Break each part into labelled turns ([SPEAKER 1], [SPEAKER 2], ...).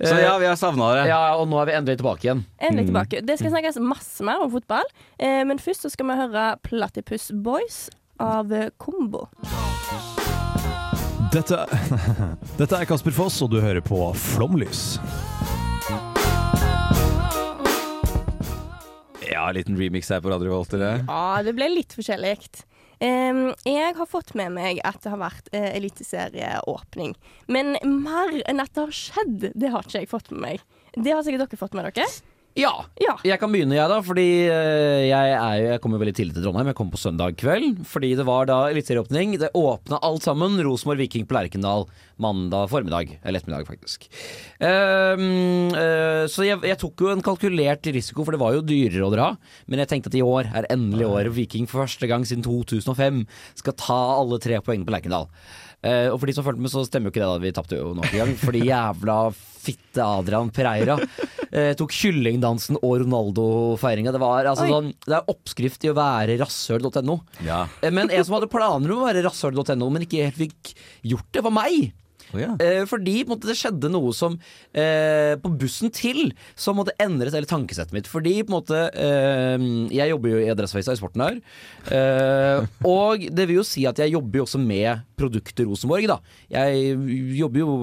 [SPEAKER 1] Så ja, vi har savna dere.
[SPEAKER 2] Eh, Ja, og nå er vi endelig tilbake igjen.
[SPEAKER 3] Endelig tilbake. Det
[SPEAKER 2] Mm.
[SPEAKER 3] skal snakkes masse mer om fotball, eh, men først så skal vi høre Platypus Boys av eh, Kombo.
[SPEAKER 4] Dette, dette er Kasper Foss, og du hører på Flomlys.
[SPEAKER 1] Ja, liten remix her på Radio Volt, eller?
[SPEAKER 3] Ja, det ble litt forskjellig. Em, jeg har fått med meg at det har vært eh, eliteserieåpning. Men mer enn at det har skjedd, det har ikke jeg fått med meg. Det har sikkert dere fått med dere.
[SPEAKER 2] Ja.
[SPEAKER 3] Ja.
[SPEAKER 2] Jeg kan begynne, jeg, da. Fordi eh, jeg, er, jo- jeg kommer veldig tidlig til Trondheim. Jeg kom på søndag kveld. Fordi det var da eliteserieåpning. Det åpna alt sammen. Rosenborg Viking på Lerkendal mandag formiddag. Eller ettermiddag, faktisk. Ehm, eh, så jeg, jeg tok jo en kalkulert risiko, for det var jo dyrere å dra. Men jeg tenkte at i år er endelig år Viking for første gang siden 2005 skal ta alle tre poeng på Lerkendal. Eh, og for de som fulgte med, så stemmer jo ikke det. da Vi tapte jo nok en gang. Fordi jævla fitte Adrian Pereira eh, tok kyllingdansen og Ronaldo-feiringa. Det var altså
[SPEAKER 3] Oi.
[SPEAKER 2] sånn Det er oppskrift i å være rasshøl.no.
[SPEAKER 1] Ja.
[SPEAKER 2] Eh, Men en som hadde planer om å være rasshøl.no, men ikke helt fikk gjort det, var meg.
[SPEAKER 1] Å, ja.
[SPEAKER 2] Eh, fordi på en måte, det skjedde noe som eh, På bussen til som måtte endret hele tankesettet mitt. Fordi på en måte eh, Jeg jobber jo i Adresseavisa i sporten her. Eh, og det vil jo si at jeg jobber jo også med produktet Rosenborg, da. Jeg jobber jo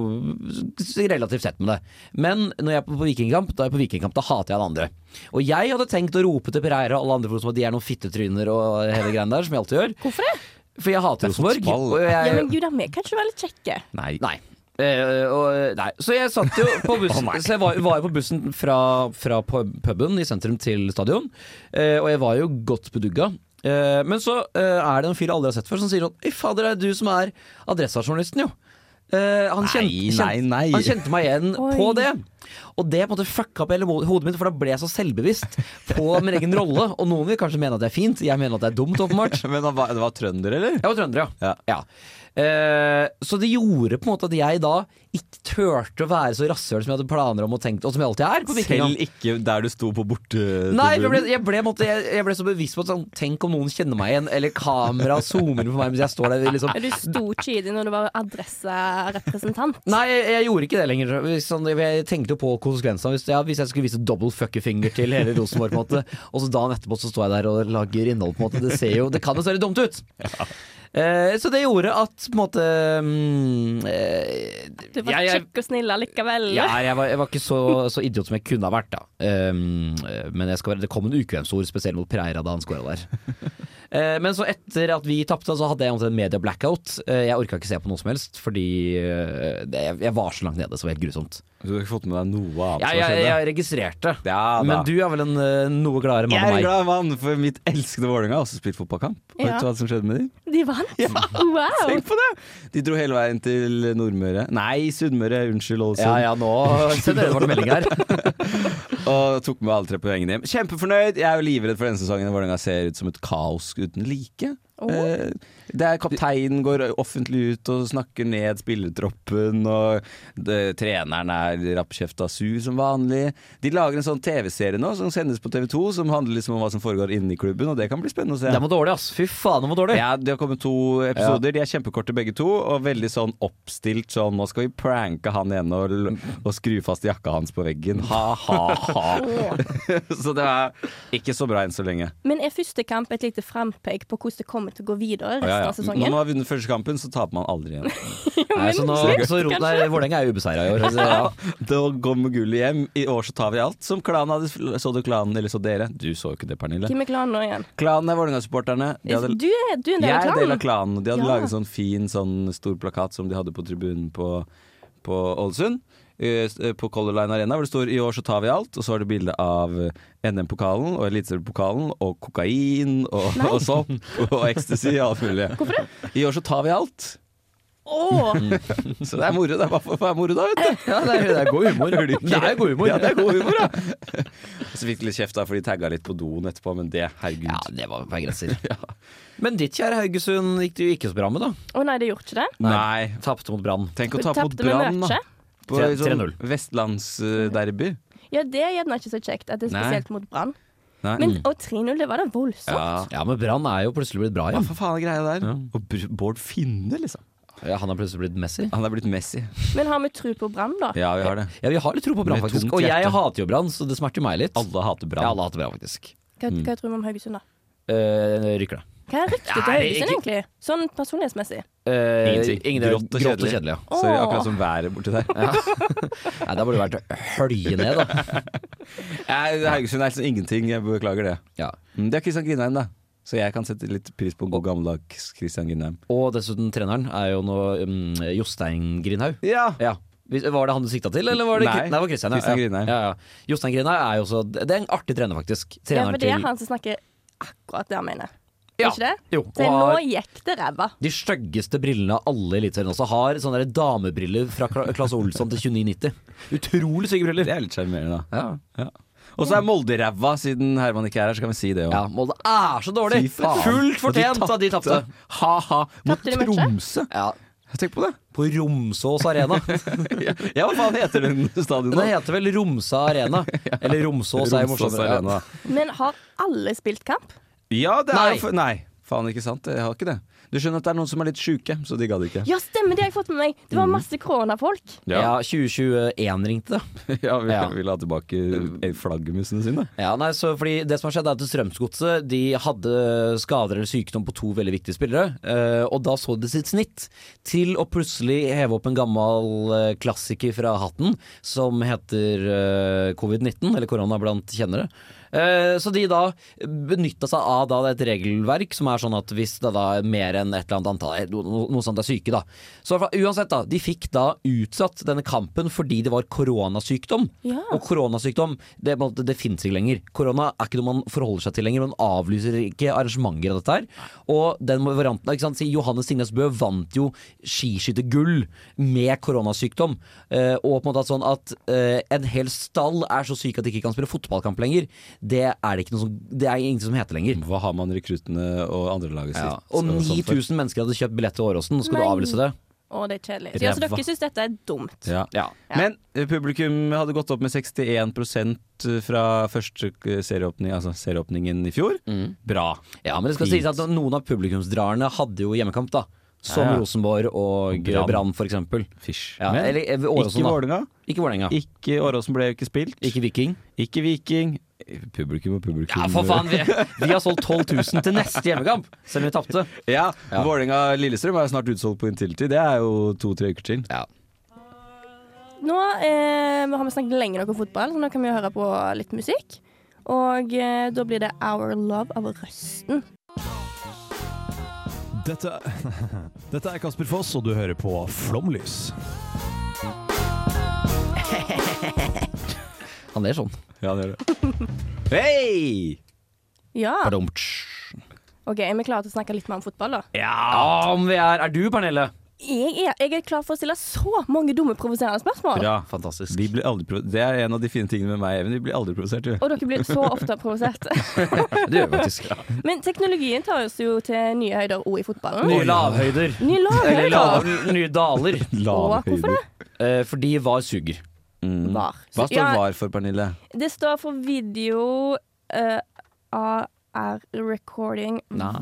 [SPEAKER 2] relativt sett med det. Men når jeg er på vikingkamp, da er jeg på vikingkamp, da hater jeg alle andre. Og jeg hadde tenkt å rope til Pereira og alle andre for Rosenborg at de er noen fittetryner og hele greia der, som jeg alltid gjør.
[SPEAKER 3] Hvorfor det?
[SPEAKER 2] For jeg hater Rosenborg.
[SPEAKER 1] fotball.
[SPEAKER 2] og jeg-
[SPEAKER 3] Ja, men gud, da, vi kan ikke være litt kjekke.
[SPEAKER 1] Nei.
[SPEAKER 2] Nei. Eh, og, nei. Så jeg satt jo på bussen Så jeg var, var jo på bussen fra, fra pub- puben i sentrum til stadion, eh, og jeg var jo godt bedugga. Eh, men så eh, er det en fyr jeg aldri har sett før, som sier sånn Fy fader, det er du som er Adressa-journalisten, jo. Eh, han,
[SPEAKER 1] Nei,
[SPEAKER 2] kjente,
[SPEAKER 1] nei, nei.
[SPEAKER 2] han kjente meg igjen
[SPEAKER 3] Oi.
[SPEAKER 2] på det. Og det på en måte fucka opp hele mo- hodet mitt, for da ble jeg så selvbevisst på min egen rolle. Og noen vil kanskje mene at det er fint, jeg mener at det er dumt, åpenbart.
[SPEAKER 1] Men han var, det var trønder, eller?
[SPEAKER 2] Jeg var trønder, ja.
[SPEAKER 1] Ja.
[SPEAKER 2] ja. Eh, så det gjorde på en måte at jeg da ikke turte å være så rasshøl som jeg hadde planer om og tenkt, og som jeg alltid er. på Vikingene.
[SPEAKER 1] Selv ikke der du sto på borte...
[SPEAKER 2] Nei, jeg ble, jeg, ble, på en måte- jeg, jeg ble så bevisst på at sånn, tenk om noen kjenner meg igjen, eller kamera zoomer på meg mens jeg står der. liksom
[SPEAKER 3] Er du stor kidi når du var adresserepresentant?
[SPEAKER 2] Nei, jeg, jeg gjorde ikke det lenger. Hvis Sånn, jeg tenkte jo på konsekvensene hvis, ja, hvis jeg skulle vise double fuckerfinger til hele Rosenborg. på en måte Og så dagen etterpå så står jeg der og lager innhold. på en måte Det, ser jo, det kan jo se litt dumt ut. Eh, så det gjorde at på en måte mm, eh,
[SPEAKER 3] Du var
[SPEAKER 2] jeg- jeg-
[SPEAKER 3] kjekk og snill allikevel.
[SPEAKER 2] Ja, jeg var, jeg var ikke så, så idiot som jeg kunne Ehm, ha vært, da. Um, eh, men jeg skal være, det kom en ukvemsord, spesielt mot Pereira da han skåra der. Eh, men så etter at vi tapte, så hadde jeg omtrent media blackout. Eh, jeg orka ikke se på noe som helst, fordi eh, det, jeg var så langt nede, så det var helt grusomt.
[SPEAKER 1] Du har ikke fått med deg noe annet
[SPEAKER 2] Ja,
[SPEAKER 1] som har
[SPEAKER 2] jeg,
[SPEAKER 1] skjedd? da?
[SPEAKER 2] jeg registrerte.
[SPEAKER 1] Ja da.
[SPEAKER 2] men du er vel en eh, noe gladere mann
[SPEAKER 1] Jeg er en
[SPEAKER 2] enn meg.
[SPEAKER 1] glad mann, for mitt elskede Vålerenga har også spilt fotballkamp. Og
[SPEAKER 3] Ja.
[SPEAKER 1] Vet du hva som skjedde med dem?
[SPEAKER 3] De vant! Wow!
[SPEAKER 1] Tenk på det! De dro hele veien til Nordmøre. Nei, Sunnmøre, unnskyld,
[SPEAKER 2] Ja
[SPEAKER 1] Ålesund.
[SPEAKER 2] ja, nå sender dere våre meldinger her.
[SPEAKER 1] Og tok med alle tre poengene hjem. Kjempefornøyd! Jeg er jo livredd for denne sesongen. Vålerenga ser ut som et kaos uten like.
[SPEAKER 3] Åh.
[SPEAKER 1] Eh, Det er Kapteinen går offentlig ut og snakker ned spillertroppen, og det, treneren er rappkjefta sur som vanlig. De lager en sånn TV-serie nå som sendes på TV2, som handler liksom om hva som foregår inni klubben, og det kan bli spennende å se.
[SPEAKER 2] Den var dårlig, ass. Fy faen, den var dårlig.
[SPEAKER 1] Ja, det har kommet to episoder. De er kjempekorte begge to, og veldig sånn oppstilt sånn Nå skal vi pranke han ene og, l- og skru fast jakka hans på veggen. Ha, ha, ha. så det er ikke så bra enn så lenge.
[SPEAKER 3] Men er første kamp et lite frampek på hvordan det kommer til å gå videre resten av
[SPEAKER 1] Når man
[SPEAKER 3] sesongen?
[SPEAKER 1] har vunnet første kampen, så taper man aldri igjen.
[SPEAKER 2] Nei, så nå, så ro, nei, Vålerenga er ubeseira i år. Så, ja.
[SPEAKER 1] Da kommer gullet hjem. I år så tar vi alt. Som klanen hadde Så du klanen, eller så dere? Du så jo ikke det, Pernille.
[SPEAKER 3] Hvem er klanen nå igjen?
[SPEAKER 1] Klanen er Vålerenga-supporterne. De hadde-
[SPEAKER 3] Du er, du er en del
[SPEAKER 1] Jeg er
[SPEAKER 3] av
[SPEAKER 1] del av
[SPEAKER 3] klanen.
[SPEAKER 1] klanen. og De hadde
[SPEAKER 3] Ja.
[SPEAKER 1] laget sånn fin, sånn stor plakat som de hadde på tribunen på, på Ålesund. eh, s- eh, På Color Line Arena, hvor det står 'I år så tar vi alt', og så har det bilde av eh, NM-pokalen og Eliteseriepokalen og kokain og, og sopp og ecstasy og alt mulig. Hvorfor det? I år så tar vi alt.
[SPEAKER 3] Åh,
[SPEAKER 1] Så det er moro. Det er bare for for det er moro, da, vet du.
[SPEAKER 2] Ja, det, er, det er god humor.
[SPEAKER 1] Hører du ikke?
[SPEAKER 2] Det er god humor.
[SPEAKER 1] Ja, det er god humor, da. Og Så fikk de litt kjeft da, for de tagga litt på doen etterpå, men det, herregud.
[SPEAKER 2] Ja, det var på grenser. Men ditt kjære Haugesund gikk det jo ikke så bra med, da.
[SPEAKER 3] Å nei, det gjorde ikke det.
[SPEAKER 1] Nei.
[SPEAKER 2] Tapte mot Brann.
[SPEAKER 1] Tenk å
[SPEAKER 3] Vi
[SPEAKER 1] tape mot
[SPEAKER 3] tapte med
[SPEAKER 1] Brann, da.
[SPEAKER 3] mye.
[SPEAKER 1] På
[SPEAKER 2] Tre-
[SPEAKER 1] sånn
[SPEAKER 2] 3-0.
[SPEAKER 1] vestlandsderby.
[SPEAKER 3] Ja, det er gjerne ikke så kjekt at det er
[SPEAKER 1] Nei.
[SPEAKER 3] spesielt mot Brann.
[SPEAKER 1] Nei. Mm.
[SPEAKER 3] Men og 3-0, det var da voldsomt.
[SPEAKER 1] ja.
[SPEAKER 2] Ja, men Brann er jo plutselig blitt bra
[SPEAKER 1] Hva
[SPEAKER 2] igjen.
[SPEAKER 1] for faen er greia der? Og Br- Bård Finne, liksom.
[SPEAKER 2] Ja, han er plutselig blitt Messi.
[SPEAKER 1] Han er blitt Messi.
[SPEAKER 3] Men har vi tro på Brann, da?
[SPEAKER 1] Ja, vi har det.
[SPEAKER 2] Ja, vi har litt tro på Brann,
[SPEAKER 1] Med
[SPEAKER 2] faktisk.
[SPEAKER 1] tungt
[SPEAKER 2] Og
[SPEAKER 1] hjerte.
[SPEAKER 2] jeg hater jo Brann, så det smerter meg litt.
[SPEAKER 1] Alle hater
[SPEAKER 2] Ja,
[SPEAKER 1] Brann.
[SPEAKER 2] alle hater Brann, faktisk.
[SPEAKER 3] Hva,
[SPEAKER 1] Mm.
[SPEAKER 3] hva tror vi om Haugesund, da?
[SPEAKER 2] Eh, rykker det.
[SPEAKER 3] Hva er ryktet til
[SPEAKER 2] Nei,
[SPEAKER 3] Haugesund, egentlig?
[SPEAKER 2] ikke-
[SPEAKER 3] Sånn personlighetsmessig.
[SPEAKER 2] Eh,
[SPEAKER 1] Ingenting.
[SPEAKER 2] ingen-
[SPEAKER 1] Grått og
[SPEAKER 2] grått og
[SPEAKER 1] kjedelig.
[SPEAKER 2] kjedelig. ja.
[SPEAKER 1] Sorry,
[SPEAKER 3] Åh.
[SPEAKER 1] akkurat som været borti der.
[SPEAKER 2] Nei, da burde det vært hølje ned, da.
[SPEAKER 1] Nei, Haugesund er liksom ingenting, jeg beklager det.
[SPEAKER 2] Ja.
[SPEAKER 1] Men det er Kristian Grindheim, da. Så jeg kan sette litt pris på god gammeldags Kristian Grindheim.
[SPEAKER 2] Og dessuten, treneren er jo nå um, Jostein Grindhaug.
[SPEAKER 1] Ja!
[SPEAKER 2] Ja. Var det han du sikta til, eller var det
[SPEAKER 1] Nei,
[SPEAKER 2] Nei, det var Christian.
[SPEAKER 1] Christian
[SPEAKER 2] ja.
[SPEAKER 1] Grindheim.
[SPEAKER 2] Ja, ja. Jostein Grindheim er jo også Det er en artig trener, faktisk.
[SPEAKER 3] Ja,
[SPEAKER 2] Treneren
[SPEAKER 3] for det er
[SPEAKER 2] til-
[SPEAKER 3] han som snakker akkurat det han mener.
[SPEAKER 2] Ja.
[SPEAKER 3] Er ikke det?
[SPEAKER 2] Jo,
[SPEAKER 3] Så
[SPEAKER 2] og
[SPEAKER 3] nå
[SPEAKER 2] har
[SPEAKER 3] gikk det ræva.
[SPEAKER 2] de styggeste brillene av alle i Eliteserien også. Har sånne der damebriller fra Claes Olsson til 29,90. Utrolig stygge briller.
[SPEAKER 1] Det er litt sjarmerende, da.
[SPEAKER 2] Ja.
[SPEAKER 1] Ja. Og så er Molde ræva, siden Herman ikke er her, så kan vi si det òg.
[SPEAKER 2] ja, Molde er så dårlig!
[SPEAKER 1] Fy faen.
[SPEAKER 2] Fullt fortjent at de tapte.
[SPEAKER 1] Ha-ha. Mot
[SPEAKER 3] Tapte de matchet?
[SPEAKER 1] Tromsø!
[SPEAKER 2] Ja.
[SPEAKER 1] Tenk på det.
[SPEAKER 2] På Romsås Arena.
[SPEAKER 1] Ja, hva faen heter den stadion
[SPEAKER 2] Det heter vel Romsa Arena. Eller Romsås er jo morsommere. Ja.
[SPEAKER 3] Men har alle spilt kamp?
[SPEAKER 1] Ja, det er
[SPEAKER 2] Nei.
[SPEAKER 1] jo for- Nei. Faen, ikke sant. Jeg har ikke det. Du skjønner at det er noen som er litt sjuke, så de gadd ikke.
[SPEAKER 3] Ja, stemmer, det har jeg fått med meg. Det
[SPEAKER 1] Mm.
[SPEAKER 3] var masse koronafolk.
[SPEAKER 2] Ja, 2021 ringte det.
[SPEAKER 1] Ja, vi
[SPEAKER 2] Ja.
[SPEAKER 1] vil ha tilbake flaggermusene sine.
[SPEAKER 2] Ja, nei, så fordi Det som har skjedd er at Strømsgodset De hadde skader eller sykdom på to veldig viktige spillere. eh, og da så de sitt snitt til å plutselig heve opp en gammel eh, klassiker fra hatten som heter eh, covid-19, eller korona blant kjennere. Eh, så de da benytta seg av da et regelverk som er sånn at hvis det da er mer enn et eller annet antall eh, no- no- Noe sånt er syke, da. Så i hvert fall- uansett, da. De fikk da utsatt denne kampen fordi det var koronasykdom.
[SPEAKER 3] Ja.
[SPEAKER 2] Og koronasykdom, det, på en måte- det finnes ikke lenger. Korona er ikke noe man forholder seg til lenger. Man avlyser ikke arrangementer av dette her. Og den varianten, ikke sant? si Johannes Singnes Bø vant jo skiskyttergull med koronasykdom. Eh, og på en måte at sånn at eh, en hel stall er så syk at de ikke kan spille fotballkamp lenger, det er det, ikke noe som, det er ingenting som heter lenger.
[SPEAKER 1] Hva har man rekruttene og andrelaget sitt?
[SPEAKER 2] Ja. Og
[SPEAKER 1] og sånn sånt for?
[SPEAKER 2] 9000 mennesker hadde kjøpt billett til Åråsen, skal du
[SPEAKER 3] Nei.
[SPEAKER 2] avlyse det?
[SPEAKER 3] Å, det er kjedelig. Så, ja, så
[SPEAKER 2] Ræva.
[SPEAKER 3] dere syns dette er dumt?
[SPEAKER 1] Ja.
[SPEAKER 2] Ja.
[SPEAKER 1] Men eh, publikum hadde gått opp med 61 fra første eh, serieåpning, altså serieåpningen i fjor.
[SPEAKER 2] Mm.
[SPEAKER 1] Bra.
[SPEAKER 2] Ja, men det skal
[SPEAKER 1] Fint.
[SPEAKER 2] sies at noen av publikumsdraerne hadde jo hjemmekamp, da. Som
[SPEAKER 1] Ja, ja.
[SPEAKER 2] Rosenborg og eh,
[SPEAKER 1] Brann.
[SPEAKER 2] Brann, for eksempel.
[SPEAKER 1] Fysj.
[SPEAKER 2] Ja,
[SPEAKER 1] Men
[SPEAKER 2] eller, eh, Åråsen,
[SPEAKER 1] ikke
[SPEAKER 2] da.
[SPEAKER 1] Vålerenga.
[SPEAKER 2] Ikke Vålerenga.
[SPEAKER 1] Ikke Åråsen ble jo ikke spilt.
[SPEAKER 2] Ikke Viking.
[SPEAKER 1] Ikke Viking. Publikum og publikum.
[SPEAKER 2] Ja, for faen! Vi, vi har solgt 12 000 til neste hjemmekamp, selv om vi tapte.
[SPEAKER 1] Ja, Vålerenga-Lillestrøm er jo snart utsolgt på inntiltid. Det er jo to-tre uker til.
[SPEAKER 2] Ja.
[SPEAKER 3] Nå eh, har vi snakket lenge nok om fotball, så nå kan vi jo høre på litt musikk. Og eh, da blir det Our Love av Røsten.
[SPEAKER 4] Dette, dette er Kasper Foss, og du hører på Flomlys.
[SPEAKER 2] Han er sånn.
[SPEAKER 1] Ja, det gjør det. Hei!
[SPEAKER 3] Ja.
[SPEAKER 2] Badumtsj.
[SPEAKER 3] OK, er vi klare til å snakke litt mer om fotball, da?
[SPEAKER 2] Ja, om vi er Er du, Pernille?
[SPEAKER 3] Jeg er, jeg er klar for å stille så mange dumme, provoserende spørsmål.
[SPEAKER 1] Bra.
[SPEAKER 2] Fantastisk.
[SPEAKER 1] Vi blir aldri pro- det er en av de fine tingene med meg, Even. Vi blir aldri provosert. vi.
[SPEAKER 3] Og dere blir så ofte provosert.
[SPEAKER 2] Det gjør vi faktisk.
[SPEAKER 3] Men teknologien tar oss jo til nye høyder òg i fotballen.
[SPEAKER 2] Nye lavhøyder.
[SPEAKER 3] Nye
[SPEAKER 2] Eller
[SPEAKER 3] laghøyder.
[SPEAKER 2] la- nye daler.
[SPEAKER 1] Lave
[SPEAKER 3] Og hvorfor
[SPEAKER 1] høyder.
[SPEAKER 3] det?
[SPEAKER 2] Eh, fordi VAR suger.
[SPEAKER 3] Var.
[SPEAKER 1] Hva
[SPEAKER 3] ja,
[SPEAKER 1] står VAR for, Pernille?
[SPEAKER 3] Det står for video eh, AR recording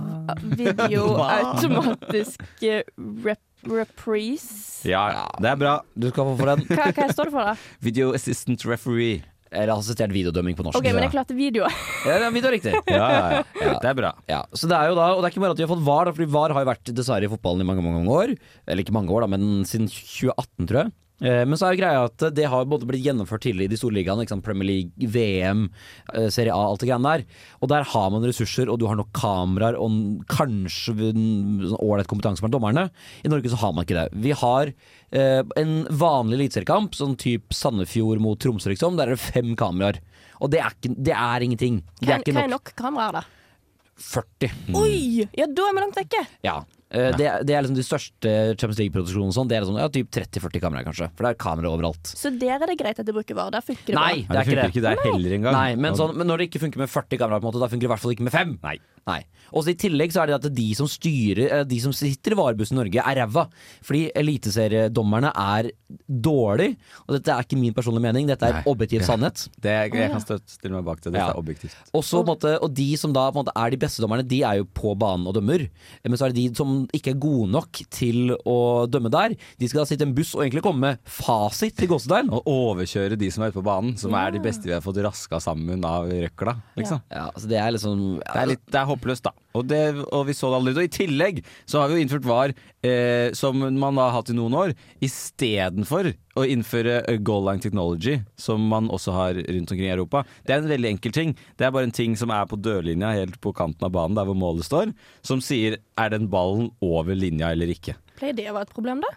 [SPEAKER 3] Video automatisk eh, rep reprise.
[SPEAKER 1] Ja, det er bra.
[SPEAKER 2] Du skal få for den.
[SPEAKER 3] Hva, hva står det for, da?
[SPEAKER 1] Video assistant referee.
[SPEAKER 2] Eller assistert videodømming på norsk.
[SPEAKER 3] OK, men jeg klarte video.
[SPEAKER 2] Ja, ja, video er riktig.
[SPEAKER 1] Ja, ja, ja. Det er bra.
[SPEAKER 2] Ja, så det er jo da, og det er ikke bare at vi har fått VAR, da, fordi VAR har jo vært dessverre i fotballen i mange mange år. Eller ikke mange år, da, men siden 2018, tror jeg. Eh, Men så er jo greia at det har både blitt gjennomført tidligere i de store ligaene. Ikke sant? Premier League, VM, eh, Serie A, alt det greiene der. Og der har man ressurser, og du har nok kameraer og n- kanskje v- n- sånn ålreit kompetanse blant dommerne. I Norge så har man ikke det. Vi har eh, en vanlig eliteseriekamp, sånn type Sandefjord mot Tromsø, liksom. Der er det fem kameraer. Og det er, ikke, det er ingenting. Det
[SPEAKER 3] Hva
[SPEAKER 2] er ikke
[SPEAKER 3] hva er
[SPEAKER 2] nok Mm.
[SPEAKER 3] nok kameraer, da?
[SPEAKER 2] 40.
[SPEAKER 3] Oi! Ja, da er vi langt vekke.
[SPEAKER 2] Ja. Eh, Det, det er liksom de største Champions League-produksjonene. og Sånn. Det er sånn, ja, typ 30-40 kameraer, kanskje. For det er kamera overalt.
[SPEAKER 3] Så der er det greit at de bruker varer. Der funker det
[SPEAKER 2] Nei,
[SPEAKER 3] bra.
[SPEAKER 2] det er ikke
[SPEAKER 1] funker
[SPEAKER 2] det.
[SPEAKER 1] ikke der heller engang.
[SPEAKER 2] Nei, men, sånn, men når det ikke funker med 40 kameraer, på en måte, da funker det i hvert fall ikke med fem. Nei. Og så I tillegg så er det at de som styrer eh, De som sitter i varebussen i Norge, er ræva. Fordi eliteseriedommerne er dårlig. Og dette er ikke min personlige mening, dette er objektiv sannhet.
[SPEAKER 1] Det, jeg kan støtte, stille meg bak det. Dette
[SPEAKER 2] Ja.
[SPEAKER 1] er objektivt.
[SPEAKER 2] Og, så, på en måte, og de som da på en måte, er de beste dommerne, de er jo på banen og dømmer. Eh, Men så er det de som ikke er gode nok til å dømme der. De skal da sitte i en buss og egentlig komme med fasit til Gåsedalen.
[SPEAKER 1] Å overkjøre de som er ute på banen, som er de beste vi har fått raska sammen av røkla. Liksom.
[SPEAKER 2] Ja, så det er liksom
[SPEAKER 1] Det er, litt, det er håpløst, da. Og, det, og vi så det allerede. Og i tillegg så har vi jo innført VAR, eh, som man har hatt i noen år, istedenfor å innføre eh, goal line technology, som man også har rundt omkring i Europa. Det er en veldig enkel ting. Det er bare en ting som er på dørlinja helt på kanten av banen, der hvor målet står, som sier er den ballen over linja eller ikke.
[SPEAKER 3] Pleier det å være et problem, da?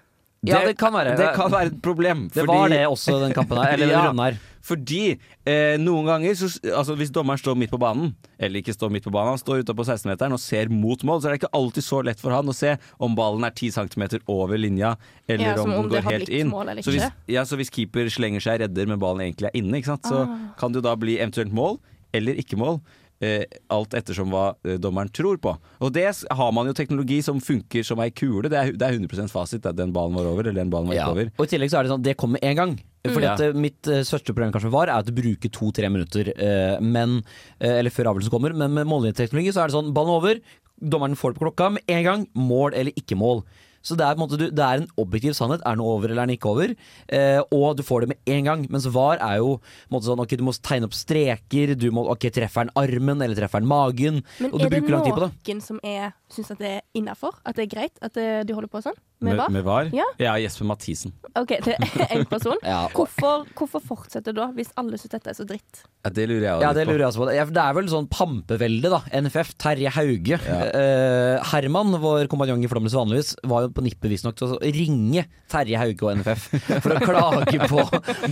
[SPEAKER 2] Ja, det kan være.
[SPEAKER 1] Det kan være et problem.
[SPEAKER 2] Det var det også, den kampen her. Eller den runden her.
[SPEAKER 1] Fordi eh, noen ganger, så, altså, hvis dommeren står midt på banen, eller ikke står midt på banen, han står utafor 16-meteren og ser mot mål, så er det ikke alltid så lett for han å se om ballen er 10 cm over linja, eller
[SPEAKER 3] Ja, som
[SPEAKER 1] om
[SPEAKER 3] om
[SPEAKER 1] den
[SPEAKER 3] det
[SPEAKER 1] går
[SPEAKER 3] har
[SPEAKER 1] helt
[SPEAKER 3] blitt
[SPEAKER 1] inn.
[SPEAKER 3] mål eller
[SPEAKER 1] Så hvis,
[SPEAKER 3] ikke.
[SPEAKER 1] ja, så hvis keeper slenger seg, redder, men ballen egentlig er inne, ikke sant? så
[SPEAKER 3] Ah.
[SPEAKER 1] kan det jo da bli eventuelt mål, eller ikke mål. Eh, alt ettersom hva eh, dommeren tror på. Og det s- har man jo teknologi som funker som ei kule. Det er, det er 100 fasit. Det er den ballen var over, eller den ballen var ikke
[SPEAKER 2] Ja.
[SPEAKER 1] over.
[SPEAKER 2] Og i tillegg så er det sånn, det kommer én gang. Fordi at eh, Mitt eh, største problem kanskje var Er at det bruker to-tre minutter eh, men, eh, Eller før avgjørelsen kommer, men med mållinjeteknologi så er det sånn ballen over, dommeren får det på klokka med en gang. Mål eller ikke mål. Så Det er på en måte du- det er en objektiv sannhet. Er den over eller er den ikke over? Eh, og du får det med en gang. Mens VAR er jo på en måte sånn, ok, du må tegne opp streker. Du må, ok, Treffer den armen, eller treffer den magen?
[SPEAKER 3] Men
[SPEAKER 2] og du
[SPEAKER 3] er det
[SPEAKER 2] bruker lang tid på det.
[SPEAKER 3] noen som er- syns at det er innafor? At det er greit at eh, de holder på sånn? Med hva?
[SPEAKER 1] Med var?
[SPEAKER 3] Ja.
[SPEAKER 1] Jesper Mathisen.
[SPEAKER 3] OK, det er én person.
[SPEAKER 2] Ja.
[SPEAKER 3] hvorfor, hvorfor fortsette da, hvis alle syns dette er så dritt?
[SPEAKER 1] det lurer jeg
[SPEAKER 2] Ja, det lurer jeg også på. Ja, for Det er vel sånn pampevelde, da. NFF, Terje Hauge. Eh, Herman, vår kompanjong i Flåmlys vanligvis, var jo på nippet visstnok til å ringe Terje Hauge og NFF for å klage på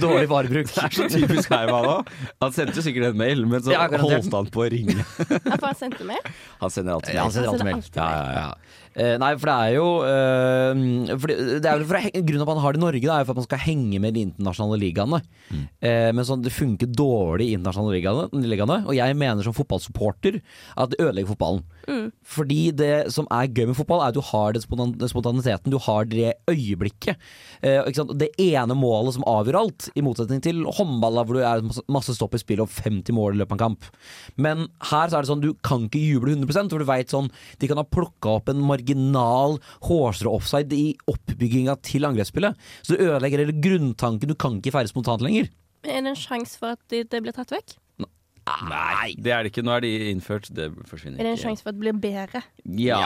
[SPEAKER 2] dårlig varebruk.
[SPEAKER 1] Så typisk Herman òg. Han sendte jo sikkert en mail, men så
[SPEAKER 2] Ja, garantert.
[SPEAKER 1] holdt han på å ringe.
[SPEAKER 3] Ja, for han sendte meg.
[SPEAKER 1] Han sender alltid
[SPEAKER 2] Ja, han sender alltid mail.
[SPEAKER 3] alltid
[SPEAKER 2] Ja, ja, ja. Eh, nei, for det er jo eh, fordi det er vel for, Grunnen til at man har det i Norge, da, er jo for at man skal henge med de internasjonale ligaene. Eh, men sånn, det funker dårlig i internasjonale ligaene, ligaene. Og jeg mener som fotballsupporter at det ødelegger fotballen. Fordi det som er gøy med fotball, er at du har den spontan spontaniteten, du har det øyeblikket. Eh, ikke sant? Det ene målet som avgjør alt, i motsetning til håndball, da, hvor det er masse- masse stopp i spill og 50 mål i løpet av en kamp. Men her så er det sånn, du kan ikke juble 100 for du vet sånn De kan ha plukka opp en marginal hårstrå offside i oppbygginga til angrepsspillet. Så du ødelegger hele grunntanken. Du kan ikke feire spontant lenger.
[SPEAKER 3] Er det en sjanse for at det, det blir tatt vekk?
[SPEAKER 1] Nei, det er det ikke. Nå er de innført. Det forsvinner
[SPEAKER 3] Er det en sjanse for at det blir bedre?
[SPEAKER 1] Ja!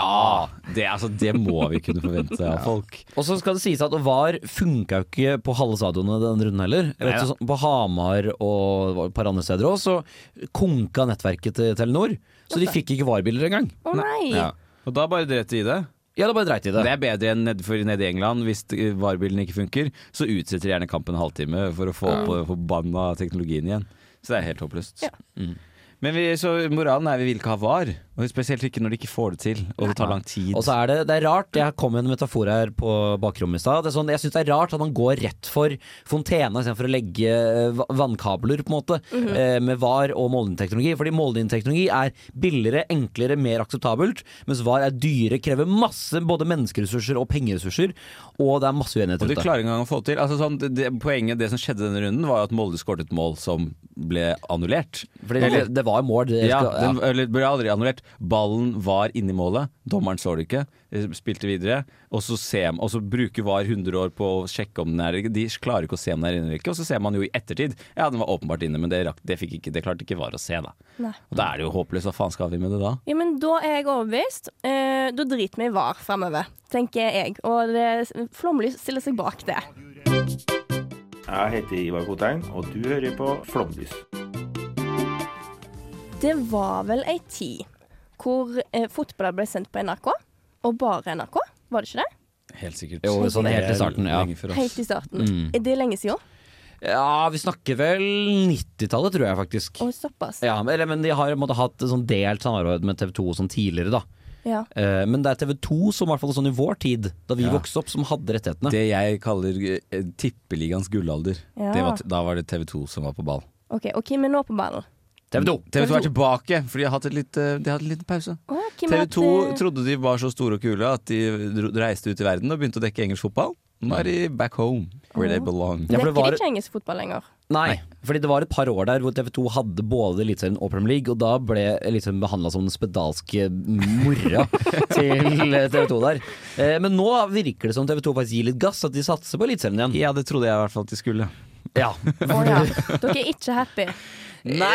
[SPEAKER 1] Det, altså, det må vi kunne forvente av folk.
[SPEAKER 2] Og så skal det sies at VAR funka jo ikke på halve stadionene denne runden heller. Jeg vet, sånn, på Hamar og det var et par andre steder òg, så konka nettverket til Telenor. Så de fikk ikke VAR-bilder engang.
[SPEAKER 3] Å nei!
[SPEAKER 1] Og da bare dreit de i det.
[SPEAKER 2] Ja, da bare dreit i det.
[SPEAKER 1] Det er bedre enn ned, for nede i England. Hvis eh, varebilen ikke funker, så utsetter de gjerne kampen en halvtime for å få opp den forbanna teknologien igjen. Så det er helt håpløst.
[SPEAKER 3] Ja.
[SPEAKER 1] Mm. Men vi, så moralen er vi vil ikke ha var. Og spesielt ikke når de ikke får det til, og det tar lang tid.
[SPEAKER 2] Og så er det, det er rart, jeg kom med en metafor her på bakrommet i stad. Det er Sånn, jeg syns det er rart at man går rett for fontena istedenfor å legge eh, va- vannkabler, på en måte,
[SPEAKER 1] Mhm.
[SPEAKER 2] eh, med var og mållinjeteknologi. Fordi mållinjeteknologi er billigere, enklere, mer akseptabelt, mens var er dyre, krever masse både menneskeressurser og pengeressurser, og det er masse uenighet
[SPEAKER 1] og du
[SPEAKER 2] rundt det.
[SPEAKER 1] klarer ikke engang å få det til. Altså, sånn, det, poenget det som skjedde denne runden, var jo at Molde skåret et mål som ble annullert.
[SPEAKER 2] Fordi det, det var mål. Det,
[SPEAKER 1] Ja,
[SPEAKER 2] skal-
[SPEAKER 1] den eller, ble aldri annullert. Ballen var inni målet, dommeren så det ikke. eh, Spilte videre. Og så, ser, og så bruker VAR 100 år på å sjekke om den er De klarer ikke å se om den er inne eller ikke. Og så ser man jo i ettertid Ja, den var åpenbart inne, men det, rakk, det, fikk ikke, det klarte ikke VAR å se, da.
[SPEAKER 3] Nei.
[SPEAKER 1] Og da er det jo håpløst. Hva faen skal vi med det da?
[SPEAKER 3] Ja, men da er jeg overbevist. Eh, da driter vi i VAR framover, tenker jeg. Og det, Flomlys stiller seg bak det.
[SPEAKER 5] Jeg heter Ivar Kotein, og du hører på Flomlys.
[SPEAKER 3] Det var vel ei tid hvor eh, fotball ble sendt på NRK, og bare NRK. Var det ikke det?
[SPEAKER 1] Helt sikkert.
[SPEAKER 2] Jo, sånn helt i starten, ja.
[SPEAKER 3] Helt i starten.
[SPEAKER 2] Mm.
[SPEAKER 3] Er det lenge siden?
[SPEAKER 2] ja, vi snakker vel 90-tallet, tror jeg faktisk.
[SPEAKER 3] Og såpass.
[SPEAKER 2] Ja, men- eller, men de har på en måte hatt et sånn delt samarbeid med TV 2 sånn tidligere, da.
[SPEAKER 3] Ja.
[SPEAKER 2] Eh, Men det er TV 2 som i hvert fall sånn i vår tid, da vi vokste opp, som hadde rettighetene.
[SPEAKER 1] Det jeg kaller eh, tippeligaens gullalder.
[SPEAKER 3] Ja.
[SPEAKER 1] Det var, t- da var det TV2 som var på ball.
[SPEAKER 3] OK, og hvem er nå på ballen?
[SPEAKER 2] TV 2!
[SPEAKER 1] TV2 er tilbake, for de har hatt, et litt, eh, de har hatt en liten pause.
[SPEAKER 3] Å, hvem er
[SPEAKER 1] TV 2
[SPEAKER 3] at, eh,
[SPEAKER 1] trodde de var så store og kule at de dro- reiste ut i verden og begynte å dekke engelsk fotball. Nå er de back home, where they belong.
[SPEAKER 2] Ja, for det
[SPEAKER 3] Dekker
[SPEAKER 2] var-
[SPEAKER 3] de ikke engelsk fotball lenger?
[SPEAKER 2] Nei, fordi det var et par år der hvor TV 2 hadde både Eliteserien og Premier League, og da ble Eliteserien behandla som den spedalske mora til TV 2 der. Eh, Men nå virker det som TV 2 faktisk gir litt gass, at de satser på Eliteserien igjen.
[SPEAKER 1] Ja, det trodde jeg i hvert fall at de skulle.
[SPEAKER 2] Ja.
[SPEAKER 3] Å ja. Dere er ikke happy?
[SPEAKER 2] Ja.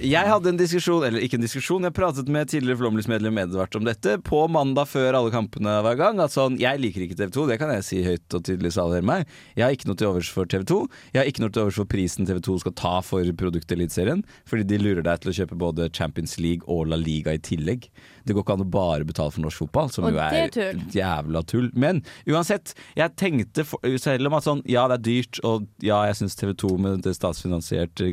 [SPEAKER 1] Jeg hadde en diskusjon, eller ikke en diskusjon, jeg pratet med tidligere Flåmlys-medlem Edvard om dette på mandag før alle kampene hver gang. At sånn, jeg liker ikke TV 2, det kan jeg si høyt og tydelig, sa dere meg. Jeg har ikke noe til overs for TV 2. Jeg har ikke noe til overs for prisen TV 2 skal ta for produktet Eliteserien. Fordi de lurer deg til å kjøpe både Champions League og La Liga i tillegg. Det går ikke an å bare betale for norsk fotball, som
[SPEAKER 3] Og
[SPEAKER 1] jo
[SPEAKER 3] det er
[SPEAKER 1] er
[SPEAKER 3] tull.
[SPEAKER 1] jævla tull. Men uansett, jeg tenkte for, selv om at sånn, ja det er dyrt, og ja jeg syns TV 2 med det statsfinansierte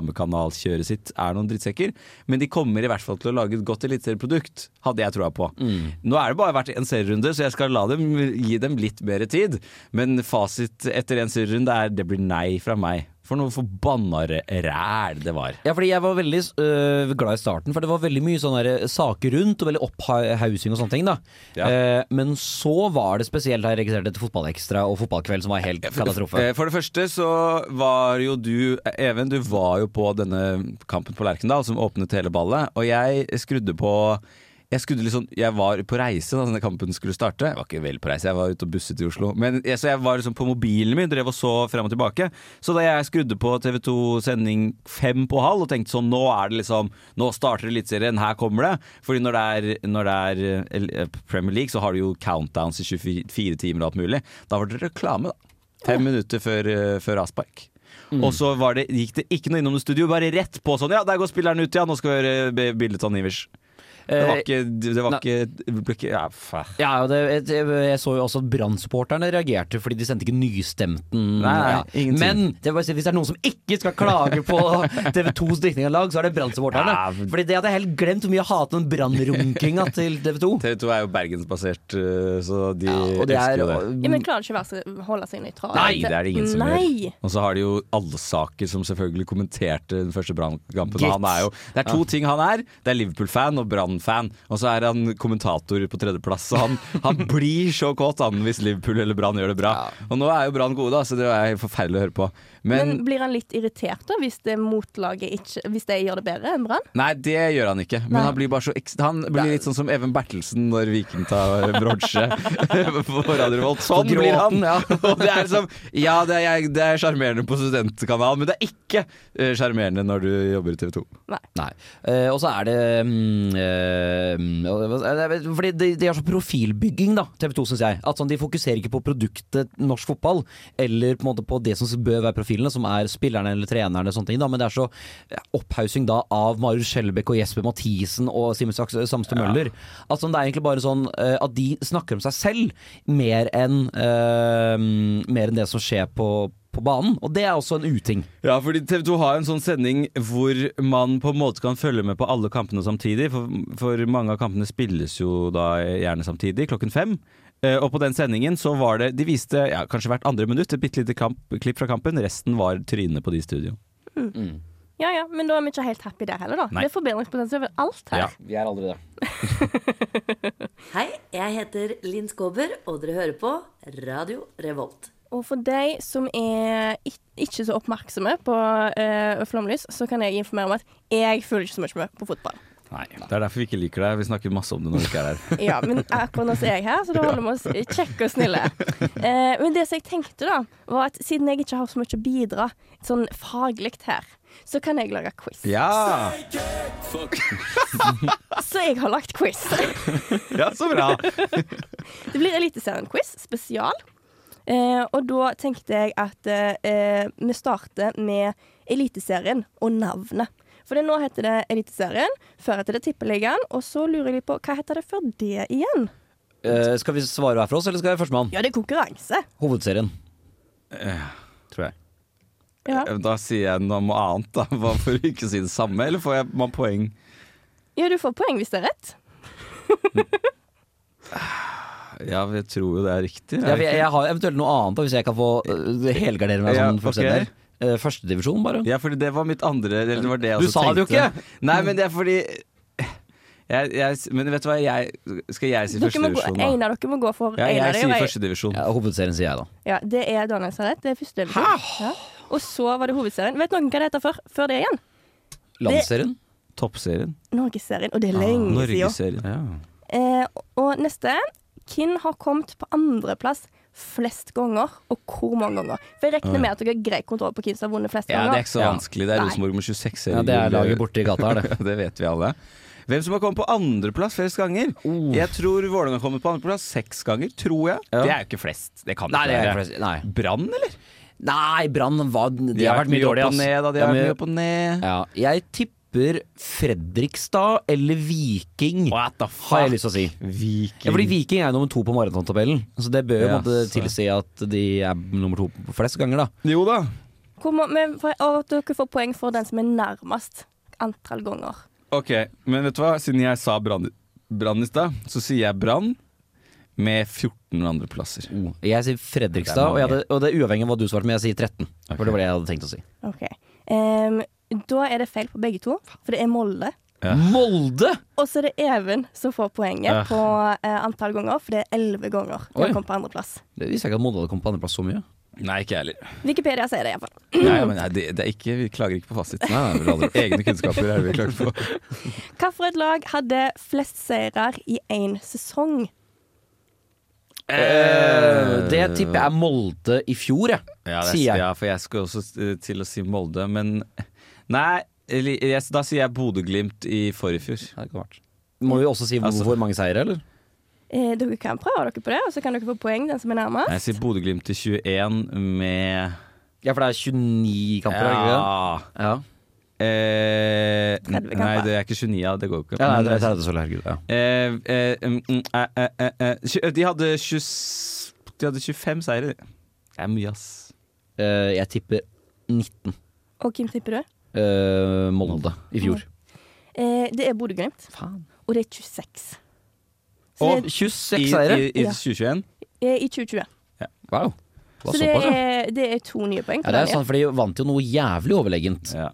[SPEAKER 1] reklamekanalkjøret sitt er noen drittsekker, men de kommer i hvert fall til å lage et godt eliteserieprodukt, hadde jeg troa på.
[SPEAKER 3] Mm.
[SPEAKER 1] Nå er det bare vært en serierunde, så jeg skal la dem gi dem litt mer tid, men fasit etter en serierunde er det blir nei fra meg. For noe forbanna ræl det var.
[SPEAKER 2] Ja, fordi jeg var veldig øh, glad i starten, for det var veldig mye sånne der øh, saker rundt, og veldig opphausing og sånne ting, da.
[SPEAKER 1] Ja.
[SPEAKER 2] Eh, men så var det spesielt her registrert et fotballekstra og fotballkveld som var helt katastrofe.
[SPEAKER 1] Eh, For det første så var jo du, Even, du var jo på denne kampen på Lerkendal som åpnet hele ballet, og jeg skrudde på jeg, skrudde litt sånn- jeg var på reise da denne kampen skulle starte. Jeg var ikke vel på reise, jeg var ute og busset i Oslo. Men jeg, så jeg var liksom på mobilen min, drev og så frem og tilbake. Så da jeg skrudde på TV 2 sending fem på halv og tenkte sånn Nå er det liksom Nå starter Eliteserien, her kommer det. Fordi når det er, når det er eh, El- Premier League, så har du jo countdowns i 24 timer og alt mulig. Da var det reklame, da. Fem minutter før, eh, før avspark.
[SPEAKER 2] Mm.
[SPEAKER 1] Og så var det, gikk det ikke noe innom noe studio, bare rett på sånn Ja, der går spilleren ut, ja, nå skal vi høre b- bildet av Nivers. Det var
[SPEAKER 2] Eh,
[SPEAKER 1] ikke Det var
[SPEAKER 2] nei.
[SPEAKER 1] ikke, det ble ikke ja, faen.
[SPEAKER 2] Eh, Ja, og det, jeg, jeg så jo også at Brann-supporterne reagerte fordi de sendte ikke nystemten.
[SPEAKER 1] Nei, nei,
[SPEAKER 2] ja.
[SPEAKER 1] ingenting.
[SPEAKER 2] Men det er bare å si, hvis det er noen som ikke skal klage på TV 2s drikning av lag, så er det Brann-supporterne.
[SPEAKER 1] Ja, men-
[SPEAKER 2] Fordi det hadde jeg helt glemt hvor mye jeg hater den Brann-runkinga til TV 2.
[SPEAKER 1] TV 2 er jo bergensbasert, eh, så de
[SPEAKER 2] Og det
[SPEAKER 1] elsker
[SPEAKER 2] er
[SPEAKER 1] jo det.
[SPEAKER 3] Ja, men klarer ikke å være så- holde seg
[SPEAKER 1] Mm.
[SPEAKER 3] nøytral?
[SPEAKER 1] Nei, det er det ingen som
[SPEAKER 3] Nei.
[SPEAKER 1] gjør. Og så har de jo alle saker som selvfølgelig kommenterte den første Brann-kampen.
[SPEAKER 2] Gitt.
[SPEAKER 1] Han er jo Det er to ting han er. Det er Liverpool-fan og Brann-fan. Og så er han kommentator på tredjeplass. Så han, han blir så kåt han hvis Liverpool eller Brann gjør det bra. Og nå er jo Brann gode, da, så det er helt forferdelig å høre på. Men,
[SPEAKER 3] Men blir han litt irritert da hvis det motlaget ikke Hvis de gjør det bedre enn Brann?
[SPEAKER 1] Nei, det gjør han ikke. Men
[SPEAKER 3] Nei.
[SPEAKER 1] han blir bare så ekst- Han blir litt sånn som Even Bertelsen når Viking tar bronse på Radio Revolt. Sånn
[SPEAKER 2] På gråten,
[SPEAKER 1] blir han!
[SPEAKER 2] ja.
[SPEAKER 1] Og det er liksom Ja, det er jeg- det er sjarmerende på studentkanalen, men det er ikke eh, sjarmerende når du jobber i TV 2.
[SPEAKER 3] Nei.
[SPEAKER 2] Nei. Eh, og så er det mm, eh, eh, jeg vet- Fordi de, de har sånn profilbygging, da, TV 2, syns jeg. At sånn, De fokuserer ikke på produktet norsk fotball, eller på en måte på det som bør være profilene, som er spillerne eller trenerne, og sånne ting, da, men det er så opphaussing da av Marius Skjelbæk og Jesper Mathisen og Simen Saks- Samstad Møller. At sånn, det er egentlig bare sånn eh, at de snakker om seg selv mer enn eh, Mer enn det som skjer på, på banen. Og det er også en uting.
[SPEAKER 1] Ja, fordi TV 2 har en sånn sending hvor man på en måte kan følge med på alle kampene samtidig. For, for mange av kampene spilles jo da gjerne samtidig, klokken fem. Eh, og på den sendingen så var det De viste ja, kanskje hvert andre minutt et bitte lite kamp, klipp fra kampen. Resten var trynet på de i studio.
[SPEAKER 3] Ja ja, men da er vi ikke helt happy der heller, da.
[SPEAKER 1] Nei.
[SPEAKER 3] Det er forbedringspotensial over alt her.
[SPEAKER 1] Ja.
[SPEAKER 2] Vi er aldri det.
[SPEAKER 6] Hei, jeg heter Linn Skåber, og dere hører på Radio Revolt.
[SPEAKER 3] Og for de som er ik- ikke så oppmerksomme på eh, flomlys, så kan jeg informere om at jeg føler ikke så mye med på fotball.
[SPEAKER 1] Nei, Det er derfor vi ikke liker deg. Vi snakker masse om det når du ikke er her.
[SPEAKER 3] Ja, men akkurat nå så er jeg her, så da holder vi oss kjekke og snille. Eh, men det som jeg tenkte, da, var at siden jeg ikke har så mye å bidra sånn faglig her, så kan jeg lage quiz.
[SPEAKER 1] Ja,
[SPEAKER 3] Så jeg har lagt quiz.
[SPEAKER 1] ja så bra!
[SPEAKER 3] Det blir Eliteserien-quiz spesial. Eh, og da tenkte jeg at eh, vi starter med Eliteserien og navnet. For det nå heter det Eliteserien, før heter det Tippeligaen, og så lurer jeg litt på hva heter det før det igjen?
[SPEAKER 2] Eh, skal vi svare hver for oss, eller skal jeg førstemann?
[SPEAKER 3] Ja, det er konkurranse.
[SPEAKER 2] Hovedserien. Tror jeg.
[SPEAKER 3] Ja,
[SPEAKER 1] Eh, Da sier jeg noe annet, da. Hva for å ikke si det samme, eller får jeg man poeng?
[SPEAKER 3] ja du får poeng hvis det er rett.
[SPEAKER 1] Ja, jeg tror jo det er riktig.
[SPEAKER 2] Jeg, jeg, har eventuelt noe annet da, hvis jeg kan få øh, helgardere meg
[SPEAKER 1] Ja,
[SPEAKER 2] sånn fullstendig.
[SPEAKER 1] ok.
[SPEAKER 2] her. Eh, Førstedivisjon, bare.
[SPEAKER 1] Ja, fordi det var mitt andre eller det var det jeg
[SPEAKER 2] Du
[SPEAKER 1] også
[SPEAKER 2] sa det jo
[SPEAKER 1] tenkte.
[SPEAKER 2] ikke!
[SPEAKER 1] Nei, men det er fordi jeg, jeg, Men vet du hva, jeg, skal jeg si
[SPEAKER 3] Dere må gå,
[SPEAKER 1] førstedivisjon,
[SPEAKER 3] en av dere må gå for
[SPEAKER 1] Ja,
[SPEAKER 3] en av
[SPEAKER 1] jeg
[SPEAKER 3] dem.
[SPEAKER 1] sier
[SPEAKER 3] og jeg-
[SPEAKER 1] førstedivisjon.
[SPEAKER 2] Ja, hovedserien, sier jeg da.
[SPEAKER 3] Ja, det er Daniel som har rett. Det er første divisjon. Ja. Og så var det hovedserien. Vet noen hva det heter før, før det igjen?
[SPEAKER 2] Landsserien.
[SPEAKER 1] Toppserien.
[SPEAKER 3] Norgesserien. Og det er
[SPEAKER 1] Ah,
[SPEAKER 3] lenge siden.
[SPEAKER 1] Norgesserien.
[SPEAKER 3] Eh, og neste Hvem har kommet på andreplass flest ganger, og hvor mange ganger? For jeg regner med at dere har grei kontroll på hvem som har vunnet flest
[SPEAKER 1] Ja, det er
[SPEAKER 3] ganger.
[SPEAKER 1] ikke så
[SPEAKER 2] Ja.
[SPEAKER 1] vanskelig. Det er
[SPEAKER 3] Nei.
[SPEAKER 1] Rosenborg med 26 serier.
[SPEAKER 2] Ja, det er laget borte i gata her, det.
[SPEAKER 1] det vet vi alle. Hvem som har kommet på andreplass flest ganger? Jeg tror Vålerenga har kommet på andreplass seks ganger, tror jeg. Det er jo ikke flest. Det kan
[SPEAKER 2] Nei, det er
[SPEAKER 1] være.
[SPEAKER 2] flest- nei.
[SPEAKER 1] Brann, eller?
[SPEAKER 2] Nei, Brann var De,
[SPEAKER 1] De
[SPEAKER 2] har vært mye dårlige,
[SPEAKER 1] opp og
[SPEAKER 2] ass.
[SPEAKER 1] ned, da. De
[SPEAKER 2] Ja,
[SPEAKER 1] har
[SPEAKER 2] men-
[SPEAKER 1] vært mye opp og ned.
[SPEAKER 2] ja, jeg tipper Fredrikstad eller Viking,
[SPEAKER 1] What the
[SPEAKER 2] har jeg lyst til å si.
[SPEAKER 1] Viking.
[SPEAKER 2] Ja, fordi Viking er nummer to på maratontabellen, så det bør
[SPEAKER 1] Ja,
[SPEAKER 2] jo på en måte
[SPEAKER 1] så-
[SPEAKER 2] tilsi at de er nummer to på flest ganger, da.
[SPEAKER 1] Jo da.
[SPEAKER 3] Hvor må- men for- Og at dere får poeng for den som er nærmest antall ganger.
[SPEAKER 1] Ok, men vet du hva? Siden jeg sa Brann Brann i stad, så sier jeg Brann med 14 andreplasser.
[SPEAKER 2] Jeg sier
[SPEAKER 1] Det er
[SPEAKER 2] Fredrikstad,
[SPEAKER 1] mange.
[SPEAKER 2] og, jeg hadde, og det er uavhengig av hva du svarte, men jeg sier 13.
[SPEAKER 1] Ok.
[SPEAKER 2] For det var det jeg hadde tenkt å si.
[SPEAKER 3] OK. Em, da er det feil på begge to, for det er Molde.
[SPEAKER 2] Molde!
[SPEAKER 3] Og så er det Even som får poenget
[SPEAKER 1] Ah.
[SPEAKER 3] på eh, antall ganger, for det er elleve ganger.
[SPEAKER 2] Oi.
[SPEAKER 3] Han kom på andreplass.
[SPEAKER 2] Det visste jeg ikke at Molde hadde kommet på andreplass så mye.
[SPEAKER 1] Nei, ikke jeg heller.
[SPEAKER 3] Wikipedia sier det iallfall.
[SPEAKER 1] Nei, men nei, det, det er ikke, vi klager ikke på fasiten. Egne kunnskaper er det vi klager på.
[SPEAKER 3] Hvilket lag hadde flest seirer i én sesong?
[SPEAKER 2] Eh, det tipper jeg er Molde i fjor, jeg.
[SPEAKER 1] Ja, det,
[SPEAKER 2] sier jeg.
[SPEAKER 1] ja for jeg skulle også eh, til å si Molde, men Nei, eller, jeg, da sier jeg Bodø-Glimt i forrige fjor.
[SPEAKER 2] Ja, det kan være. Må vi også si hvor,
[SPEAKER 1] Altså-
[SPEAKER 2] hvor mange seire, eller?
[SPEAKER 3] Eh, dere kan prøve dere på det, og så kan dere få poeng, den som er nærmest.
[SPEAKER 1] Jeg sier Bodø-Glimt i 21 med
[SPEAKER 2] Ja, for det er 29 kamper, er det ikke det?
[SPEAKER 1] Ja
[SPEAKER 2] Ja.
[SPEAKER 1] eh,
[SPEAKER 3] kamper.
[SPEAKER 1] Nei, det er ikke 29, ja, det går ikke.
[SPEAKER 2] ja nei,
[SPEAKER 1] Men
[SPEAKER 2] det
[SPEAKER 1] det
[SPEAKER 2] er 30 så herregud. Ja.
[SPEAKER 1] Eh, eh, mm, mm, eh, eh, eh, eh. Tju- De hadde 20, De hadde 25 seire. de. Det er mye, ass.
[SPEAKER 2] Eh, jeg tipper 19.
[SPEAKER 3] Og hvem tipper du?
[SPEAKER 2] eh, Molde i fjor.
[SPEAKER 3] Eh, det er Bodø-Glimt, og det er 26. Så
[SPEAKER 1] Og
[SPEAKER 3] det
[SPEAKER 2] 26
[SPEAKER 1] I,
[SPEAKER 2] seire?
[SPEAKER 1] i, i
[SPEAKER 3] Ja.
[SPEAKER 1] 2021?
[SPEAKER 3] er, I 2020.
[SPEAKER 2] Wow. Det var
[SPEAKER 3] Så det
[SPEAKER 2] såpass, ja.
[SPEAKER 3] er, det er to nye poeng.
[SPEAKER 2] Ja, det er
[SPEAKER 1] sånn-
[SPEAKER 2] sant, for de vant jo noe jævlig overlegent.
[SPEAKER 1] Ja.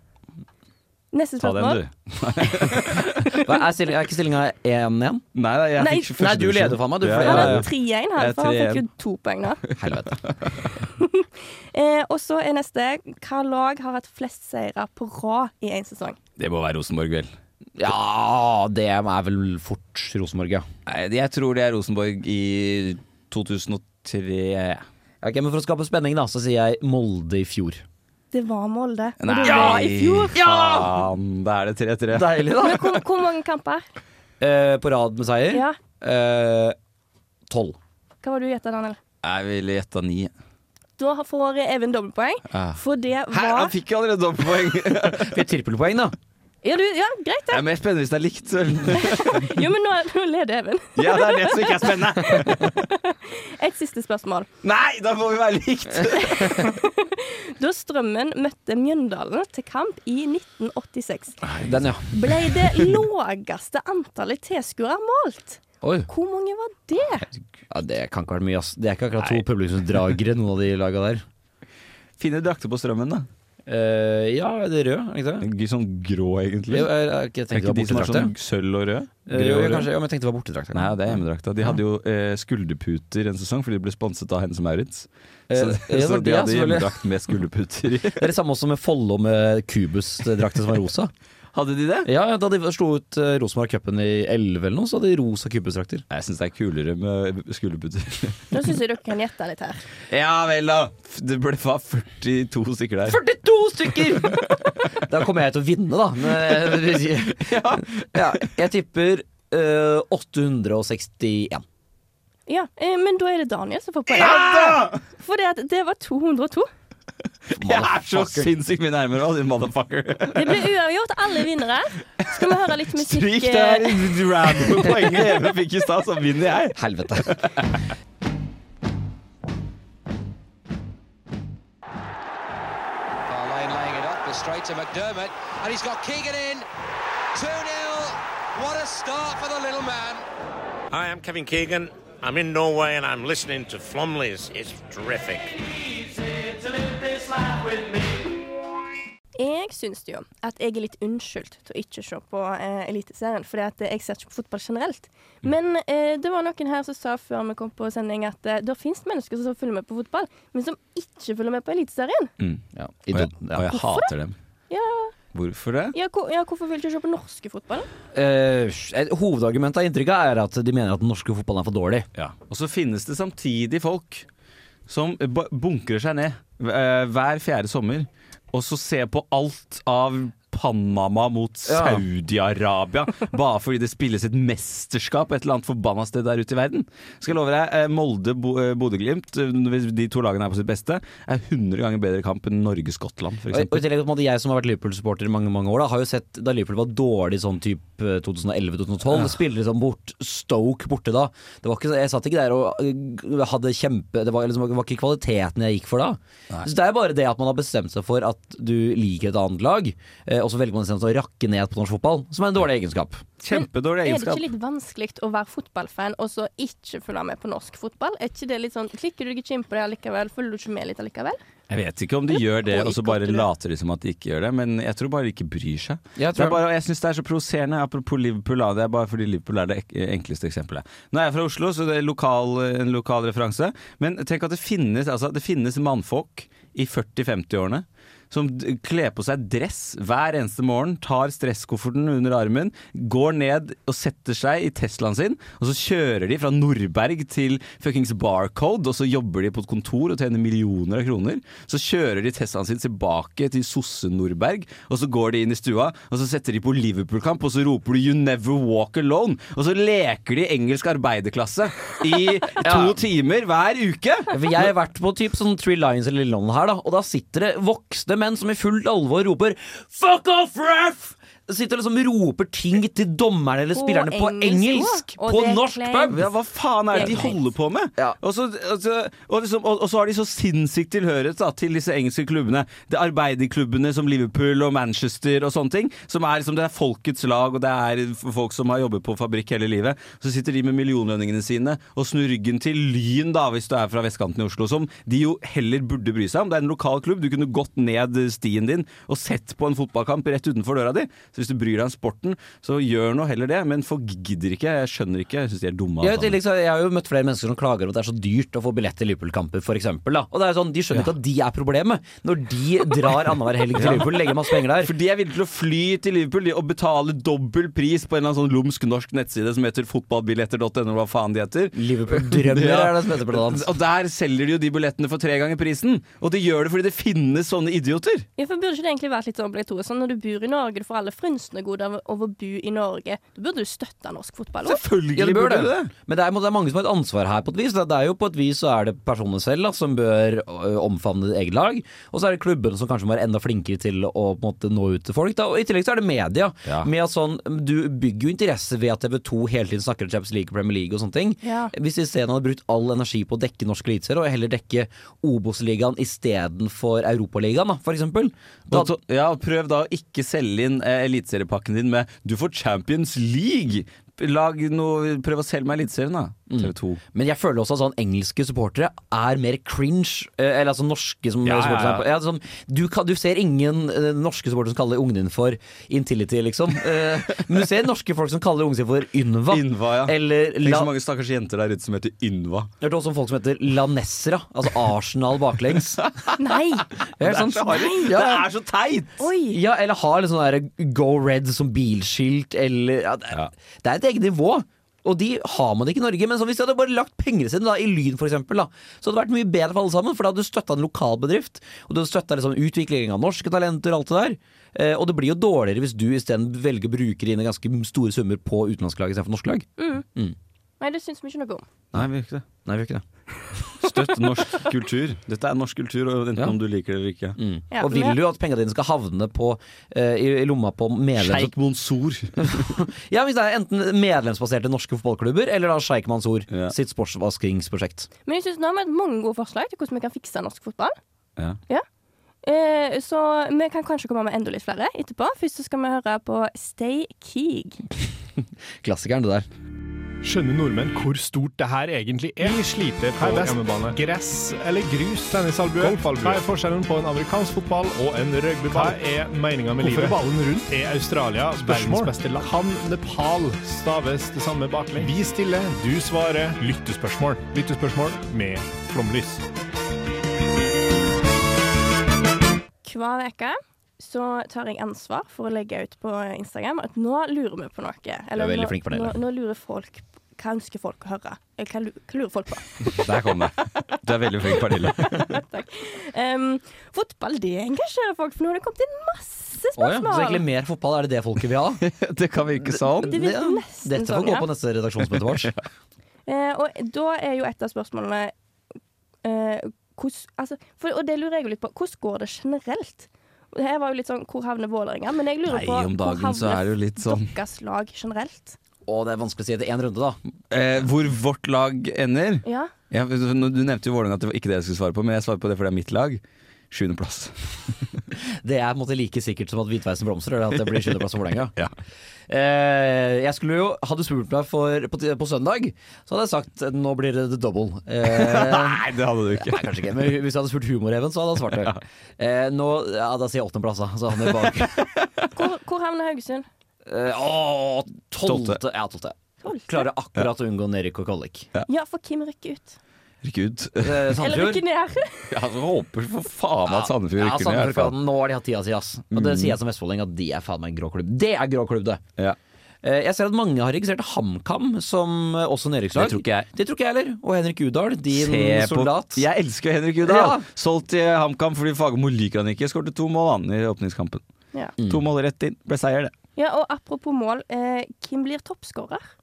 [SPEAKER 3] Neste
[SPEAKER 1] Ta den,
[SPEAKER 3] spørsmål.
[SPEAKER 1] du.
[SPEAKER 2] Hva Er, stilling, er ikke stillinga 1-1?
[SPEAKER 1] Nei, nei, jeg
[SPEAKER 3] Nei.
[SPEAKER 1] fikk ikke
[SPEAKER 2] Nei,
[SPEAKER 1] første
[SPEAKER 2] du
[SPEAKER 1] divisjon.
[SPEAKER 2] leder faen meg, du, for
[SPEAKER 1] Ja,
[SPEAKER 2] det
[SPEAKER 3] Han
[SPEAKER 1] ja,
[SPEAKER 3] hadde
[SPEAKER 1] ja.
[SPEAKER 3] 3-1
[SPEAKER 1] Det
[SPEAKER 3] her,
[SPEAKER 1] er
[SPEAKER 3] for han
[SPEAKER 1] 3-1.
[SPEAKER 3] fikk jo to poeng nå.
[SPEAKER 2] Helvete.
[SPEAKER 3] Eh, og så er neste Hva lag har hatt flest seire på rad i én sesong?
[SPEAKER 1] Det må være Rosenborg, vel.
[SPEAKER 2] Ja, det er vel fort Rosenborg, ja.
[SPEAKER 1] Nei, jeg tror det er Rosenborg i 2003.
[SPEAKER 2] Ok, Men for å skape spenning, da, så sier jeg Molde i fjor.
[SPEAKER 3] Det var Molde. Og
[SPEAKER 1] Nei,
[SPEAKER 3] det var i fjor.
[SPEAKER 1] faen! Da er det 3-3.
[SPEAKER 2] Deilig, da.
[SPEAKER 3] Hvor, hvor mange kamper?
[SPEAKER 2] eh, på rad med seier.
[SPEAKER 3] Ja.
[SPEAKER 2] Eh, Tolv.
[SPEAKER 3] Hva var det du gjetta, Daniel?
[SPEAKER 1] Jeg ville gjette ni.
[SPEAKER 3] Da har- får Even dobbeltpoeng,
[SPEAKER 1] Ja.
[SPEAKER 3] for det
[SPEAKER 1] Hæ,
[SPEAKER 3] var
[SPEAKER 1] han fikk jo allerede dobbeltpoeng! det
[SPEAKER 2] Fikk trippelpoeng, da.
[SPEAKER 3] ja, du, ja, greit, det.
[SPEAKER 1] er mer spennende hvis det er likt. Søren.
[SPEAKER 3] Jo, men nå, nå leder Even.
[SPEAKER 1] ja, det er det som ikke er spennende.
[SPEAKER 3] Et siste spørsmål.
[SPEAKER 1] Nei, da må vi være likt!
[SPEAKER 3] Da Strømmen møtte Mjøndalen til kamp i 1986,
[SPEAKER 2] Den, ja.
[SPEAKER 1] liksom.
[SPEAKER 3] ble det laveste antallet tilskuere målt.
[SPEAKER 2] Oi.
[SPEAKER 3] Hvor mange var det?
[SPEAKER 2] Ja, det kan ikke være mye, ass. Det er ikke akkurat to publikumsdragere, noen av de laga der.
[SPEAKER 1] Finne drakter på strømmen, da.
[SPEAKER 2] Eh, ja, er det rød, er det ikke det?
[SPEAKER 1] Ikke Sånn grå, egentlig.
[SPEAKER 2] Jo, jeg, jeg, jeg
[SPEAKER 1] Er
[SPEAKER 2] tenkte
[SPEAKER 1] ikke
[SPEAKER 2] det
[SPEAKER 1] de som
[SPEAKER 2] var
[SPEAKER 1] har
[SPEAKER 2] bortedrakt,
[SPEAKER 1] sånn sølv og rød?
[SPEAKER 2] ja. Eh,
[SPEAKER 1] Grå og
[SPEAKER 2] jo, jeg,
[SPEAKER 1] rød?
[SPEAKER 2] kanskje, ja, men jeg tenkte det var bortedrakt.
[SPEAKER 1] Nei, det er hjemmedrakta. De hadde jo eh, skulderputer en sesong fordi de ble sponset av Hennes Maurits.
[SPEAKER 2] Eh,
[SPEAKER 1] Så,
[SPEAKER 2] ja, det
[SPEAKER 1] så de
[SPEAKER 2] var det,
[SPEAKER 1] hadde
[SPEAKER 2] selvfølgelig.
[SPEAKER 1] hjemmedrakt med skulderputer i.
[SPEAKER 2] Det er det samme også med Follo med Cubus-drakter som var rosa.
[SPEAKER 1] Hadde de det?
[SPEAKER 2] Ja, Da de slo ut eh, Rosenborg Cupen i 11 eller noe, så hadde de rosa Cubus-drakter.
[SPEAKER 1] Jeg syns det er kulere med skulderputer.
[SPEAKER 3] Nå syns jeg dere kan gjette litt her.
[SPEAKER 1] ja vel, da! F- Det ble var 42 stykker der.
[SPEAKER 2] 42 stykker! da kommer jeg til å vinne, da. Men, eh, ja, jeg tipper eh, 861.
[SPEAKER 3] Ja, eh, Men da er det Daniel som får poeng. Ja! For det, at det var 202.
[SPEAKER 1] Jeg er så sinnssykt mye nærmere, da, din motherfucker.
[SPEAKER 3] Det ble uavgjort. Alle vinnere. Skal vi høre litt musikk?
[SPEAKER 1] Stryk det
[SPEAKER 3] eh,
[SPEAKER 1] her random poenget Even fikk i stad, så vinner jeg.
[SPEAKER 2] Helvete.
[SPEAKER 7] Lane laying it up, but straight to McDermott, and he's got Keegan in. 2 0. What a start for the little man.
[SPEAKER 8] Hi, I'm Kevin Keegan. I'm in Norway and I'm listening to Flomley's. It's terrific.
[SPEAKER 3] Jeg syns jo at jeg er litt unnskyldt til å ikke se på eh, Eliteserien, fordi at eh, jeg ser ikke på fotball generelt. Men eh, det var noen her som sa før vi kom på sending at eh, det fins mennesker som følger med på fotball, men som ikke følger med på Eliteserien.
[SPEAKER 2] Ja,
[SPEAKER 1] Og jeg,
[SPEAKER 2] idol- ja.
[SPEAKER 1] og jeg hater dem.
[SPEAKER 3] Ja,
[SPEAKER 1] Hvorfor det?
[SPEAKER 3] ja, hvor, ja, hvorfor vil du ikke se på norske fotball? da?
[SPEAKER 2] Eh, et hovedargument av inntrykket er at de mener at den norske fotballen er for dårlig.
[SPEAKER 1] Ja. Og så finnes det samtidig folk som ba- bunkrer seg ned eh, hver fjerde sommer, og så ser på alt av Panama mot
[SPEAKER 2] Ja.
[SPEAKER 1] Saudi-Arabia, bare fordi det spilles et mesterskap et eller annet forbanna sted der ute i verden. Skal jeg love deg, eh, Molde, Bo- eh, Bodø-Glimt, eh, hvis de to lagene er på sitt beste, er 100 ganger bedre kamp enn Norge-Skottland,
[SPEAKER 2] Og og i
[SPEAKER 1] f.eks.
[SPEAKER 2] tillegg, på en måte, Jeg som har vært Liverpool-supporter i mange mange år, da, har jo sett da Liverpool var dårlig sånn type 2011-2012. Spillere som bort, Stoke borte da. Det var ikke, jeg satt ikke der og øh, hadde kjempe Det var, liksom, det var ikke kvaliteten jeg gikk for da. Så Det er bare det at man har bestemt seg for at du liker et annet lag, eh, og så velger man i stedet for å rakke ned på norsk fotball, som er en dårlig egenskap.
[SPEAKER 1] Kjempedårlig
[SPEAKER 3] Er det
[SPEAKER 1] egenskap.
[SPEAKER 3] ikke litt vanskelig å være fotballfan og så ikke følge med på norsk fotball? Er ikke det litt sånn, Klikker du deg ikke inn på det allikevel? Følger du ikke med litt allikevel?
[SPEAKER 1] Jeg vet ikke om de gjør det,
[SPEAKER 3] Og
[SPEAKER 1] og så
[SPEAKER 3] ikke
[SPEAKER 1] bare
[SPEAKER 3] at de-
[SPEAKER 1] later de som at de ikke gjør det, men jeg tror bare de ikke bryr seg.
[SPEAKER 2] Jeg
[SPEAKER 1] Det
[SPEAKER 2] tror-
[SPEAKER 1] er bare, og jeg syns det er så provoserende, apropos Liverpool, da, det er bare fordi Liverpool er det ek- enkleste eksempelet. Nå er jeg fra Oslo, så det er lokal, en lokal referanse, men tenk at det finnes, altså, det finnes mannfolk i 40-50-årene som d- kler på seg dress hver eneste morgen, tar stresskofferten under armen, går ned og setter seg i Teslaen sin, og så kjører de fra Nordberg til fuckings Barcode, og så jobber de på et kontor og tjener millioner av kroner. Så kjører de Teslaen sin tilbake til Sosse-Nordberg, og så går de inn i stua, og så setter de på Liverpool-kamp, og så roper du 'You never walk alone', og så leker de engelsk arbeiderklasse i to timer hver uke!
[SPEAKER 2] Ja, For jeg har vært på typ sånn Three Lions eller London her, da, og da sitter det voksne menn som i fullt alvor roper 'fuck off, ref!' Sitter og liksom roper ting til dommerne eller
[SPEAKER 3] På
[SPEAKER 2] spillerne på
[SPEAKER 3] engelsk
[SPEAKER 2] engelsk!
[SPEAKER 3] også, og
[SPEAKER 2] På
[SPEAKER 3] det er
[SPEAKER 2] norsk
[SPEAKER 3] kleint.
[SPEAKER 2] pub!
[SPEAKER 1] Ja, hva faen er det de
[SPEAKER 3] Det er
[SPEAKER 1] holder på med?
[SPEAKER 2] Ja.
[SPEAKER 1] Og, så, og, så- og, liksom, og, og så har de så sinnssykt tilhørighet da, til disse engelske klubbene. Det er arbeiderklubbene som Liverpool og Manchester og sånne ting. Som er, liksom, det er folkets lag, og det er f- folk som har jobbet på fabrikk hele livet. Så sitter de med millionlønningene sine og snur ryggen til Lyn, da, hvis du er fra vestkanten i Oslo, som de jo heller burde bry seg om. Det er en lokal klubb. Du kunne gått ned stien din og sett på en fotballkamp rett utenfor døra di. Så hvis du bryr deg om sporten, så gjør nå heller det. Men folk gidder ikke. Jeg skjønner ikke. Jeg syns de er dumme. altså. alle
[SPEAKER 2] Jeg, vet, i
[SPEAKER 1] sammen.
[SPEAKER 2] tillegg så- jeg har jo møtt flere mennesker som klager om at det er så dyrt å få billett til Liverpool-kamper, for eksempel, da. Og det er jo sånn, de skjønner ikke at de er problemet, når de drar annenhver helg til Liverpool, legger masse penger der.
[SPEAKER 1] For de er villige til å fly til Liverpool de, og betale dobbel pris på en eller annen sånn lumsk norsk nettside som heter fotballbilletter.no, eller hva faen de heter.
[SPEAKER 2] Liverpool-drømmer
[SPEAKER 1] Ja.
[SPEAKER 2] er det som heter blant annet.
[SPEAKER 1] Og der selger de jo de billettene for tre ganger prisen. Og de gjør det fordi det finnes sånne idioter.
[SPEAKER 3] Ja, for Burde ikke det egentlig vært litt sånn obligatorisk? Sånn når du bor i Norge, du får alle kunstnergoder av å bo i Norge. Da burde du støtte norsk fotball òg.
[SPEAKER 2] Ja, det bør
[SPEAKER 1] burde
[SPEAKER 2] det.
[SPEAKER 1] det.
[SPEAKER 2] Men det er, det er mange som har et ansvar her, på et vis. Det er jo på et vis så er det personene selv da, som bør ø, omfavne eget lag. Og så er det klubbene som kanskje må være enda flinkere til å på en måte, nå ut til folk. Da. Og I tillegg så er det media.
[SPEAKER 1] Ja.
[SPEAKER 2] Med at sånn, Du bygger jo interesse ved at TV2 hele tiden snakker om Champions League og Premier League og sånne ting.
[SPEAKER 3] Ja.
[SPEAKER 2] Hvis isteden hadde brukt all energi på å dekke norsk eliteserie, og heller dekke Obos-ligaen istedenfor Europaligaen, da, for eksempel. Da,
[SPEAKER 1] Og to- ja, og prøv da å ikke selge inn eh, eliteseriepakken din med 'du får Champions League'! Lag noe, prøv å selge meg Eliteserien, da. TV 2.
[SPEAKER 2] Men jeg føler også at sånn engelske supportere er mer cringe. eh, Eller altså norske som
[SPEAKER 1] Ja, ja, ja.
[SPEAKER 2] supportere er på- ja, sånn, du, kan, du ser ingen eh, norske supportere som kaller ungen din for intility, liksom. Eh, men du ser norske folk som kaller ungen sin for Ynva.
[SPEAKER 1] Ynva, ja.
[SPEAKER 2] Eller
[SPEAKER 1] Tenk
[SPEAKER 2] la,
[SPEAKER 1] så mange stakkars jenter der ute som heter Ynva.
[SPEAKER 2] jeg har hørt også om folk som heter Lanesra. Altså Arsenal baklengs.
[SPEAKER 3] Nei!
[SPEAKER 2] Det er sånn- Ja,
[SPEAKER 1] så teit!
[SPEAKER 3] Oi!
[SPEAKER 2] ja, eller har litt sånn der Go Red som bilskilt, eller ja, det,
[SPEAKER 1] Ja.
[SPEAKER 2] det er et eget nivå. Og de har man ikke i Norge, men så hvis de hadde bare lagt pengene sine da, i Lyn f.eks., så hadde det vært mye bedre for alle sammen, for da hadde du støtta en lokal bedrift, og du hadde støtta liksom, utvikling av norske talenter og alt det der. Eh, og det blir jo dårligere hvis du isteden velger å bruke dine ganske store summer på utenlandske lag istedenfor norske lag.
[SPEAKER 3] Mm. Nei, det syns vi ikke noe om.
[SPEAKER 1] Nei, vi gjør ikke det.
[SPEAKER 2] Nei, vi gjør ikke det.
[SPEAKER 1] Støtt norsk kultur. Dette er norsk kultur, og enten
[SPEAKER 2] Ja.
[SPEAKER 1] om du liker det eller ikke.
[SPEAKER 3] Ja,
[SPEAKER 2] og vil
[SPEAKER 3] men-
[SPEAKER 2] du at pengene dine skal havne på, eh, i, i lomma på medlemmer
[SPEAKER 1] Sjeik Monsoor.
[SPEAKER 2] Ja, hvis det er enten medlemsbaserte norske fotballklubber eller da Sjeik Mansour
[SPEAKER 1] Ja.
[SPEAKER 2] sitt sportsvaskingsprosjekt.
[SPEAKER 3] Men jeg synes nå har vi hatt mange gode forslag til hvordan vi kan fikse norsk fotball.
[SPEAKER 1] Ja.
[SPEAKER 3] Eh, så vi kan kanskje komme med enda litt flere etterpå. Først så skal vi høre på Stay Keeg.
[SPEAKER 2] Klassikeren, det der.
[SPEAKER 9] Skjønner nordmenn hvor stort det her egentlig er? Vi sliter på hjemmebane. Gress eller grus? Tennisalbue? Hva er forskjellen på en amerikansk fotball og en rugbyball? Hva er meninga
[SPEAKER 4] Hvorfor
[SPEAKER 9] med livet?
[SPEAKER 4] er ballen
[SPEAKER 9] rundt? Er Australia
[SPEAKER 4] Spørsmål.
[SPEAKER 9] verdens beste land? Kan Nepal staves det samme baklengs? Vi stiller, du svarer. Lyttespørsmål. Lyttespørsmål med flomlys.
[SPEAKER 3] Hver uke så tar jeg ansvar for å legge ut på Instagram at nå lurer vi på noe. Eller
[SPEAKER 2] Du er veldig
[SPEAKER 3] nå,
[SPEAKER 2] flink på det,
[SPEAKER 3] Nå,
[SPEAKER 2] da.
[SPEAKER 3] nå lurer folk Hva ønsker folk å høre? Eller hva lu- hva lurer folk på?
[SPEAKER 1] Der kom det. Du er veldig flink, Pernille.
[SPEAKER 3] Em, fotball det engasjerer folk, for nå har det kommet inn masse
[SPEAKER 2] Å ja, så
[SPEAKER 3] spørsmål.
[SPEAKER 2] egentlig mer fotball er det det folket vil ha?
[SPEAKER 1] Det kan virke sånn.
[SPEAKER 3] det virker
[SPEAKER 2] Ja,
[SPEAKER 3] nesten
[SPEAKER 2] Dette får
[SPEAKER 3] sånn,
[SPEAKER 2] gå
[SPEAKER 3] ja.
[SPEAKER 2] på neste redaksjonsmøte vårt.
[SPEAKER 3] Eh, og da er jo et av spørsmålene eh, hvordan- altså, for, Og det lurer jeg jo litt på. Hvordan går det generelt? Det Her var jo litt sånn hvor havner Vålerenga? Men jeg lurer
[SPEAKER 1] Nei,
[SPEAKER 3] på
[SPEAKER 1] om dagen
[SPEAKER 3] hvor
[SPEAKER 1] så er det jo litt sånn-
[SPEAKER 3] deres lag generelt?
[SPEAKER 2] Å, det er vanskelig å si etter én runde, da.
[SPEAKER 1] Eh, hvor vårt lag ender
[SPEAKER 3] Ja.
[SPEAKER 1] ja, nå- Du nevnte jo Vålerenga at det var ikke det jeg skulle svare på, men jeg svarer på det fordi det er mitt lag. Sjuendeplass.
[SPEAKER 2] Det er på en måte like sikkert som at Hvitveisen blomstrer, eller at det blir sjuendeplass for Vålerenga.
[SPEAKER 1] Ja.
[SPEAKER 2] Eh, jeg skulle jo, hadde du spurt meg for, på, på søndag, så hadde jeg sagt nå blir det the double. Eh,
[SPEAKER 1] Nei, det hadde du
[SPEAKER 2] Nei, kanskje ikke. Men hvis jeg hadde spurt Humor-Even, så hadde han svart det. Eh, nå, ja, da sier jeg åttendeplass, da. Så han er bak.
[SPEAKER 3] Hvor, hvor havner Haugesund?
[SPEAKER 2] Eh, å, tolvte.
[SPEAKER 1] Tolvte.
[SPEAKER 2] Ja, tolvte.
[SPEAKER 3] Tolvte?
[SPEAKER 2] Klarer akkurat å unngå Nerik og Kollik.
[SPEAKER 3] Ja, for Kim rykker ut.
[SPEAKER 1] Rykke ut.
[SPEAKER 2] Eh,
[SPEAKER 3] Eller
[SPEAKER 2] Sandefjord.
[SPEAKER 3] rykker ned.
[SPEAKER 1] Jeg altså, håper for faen at Sandefjord
[SPEAKER 2] Ja,
[SPEAKER 1] rykker ned. i hvert
[SPEAKER 2] Sandefjord
[SPEAKER 1] fall. Mm.
[SPEAKER 2] kan- Nå har de hatt tida si, ass. Og det sier jeg som vestfolding, at de er faen meg en grå klubb. Det er grå klubb, det!
[SPEAKER 1] Ja.
[SPEAKER 2] Eh, Jeg ser at mange har registrert HamKam som eh, også nedrykkslag.
[SPEAKER 1] Det tror ikke jeg.
[SPEAKER 2] Det tror ikke jeg heller. Og Henrik Udal, din
[SPEAKER 1] Se på-
[SPEAKER 2] soldat.
[SPEAKER 1] Jeg elsker Henrik Udal.
[SPEAKER 2] Ja.
[SPEAKER 1] Solgt til HamKam fordi Fagermo liker han ikke. Skårte to mål han i åpningskampen.
[SPEAKER 3] Ja.
[SPEAKER 1] To mål rett inn. Ble seier, det.
[SPEAKER 3] ja, og apropos mål. Eh, hvem blir toppskårer?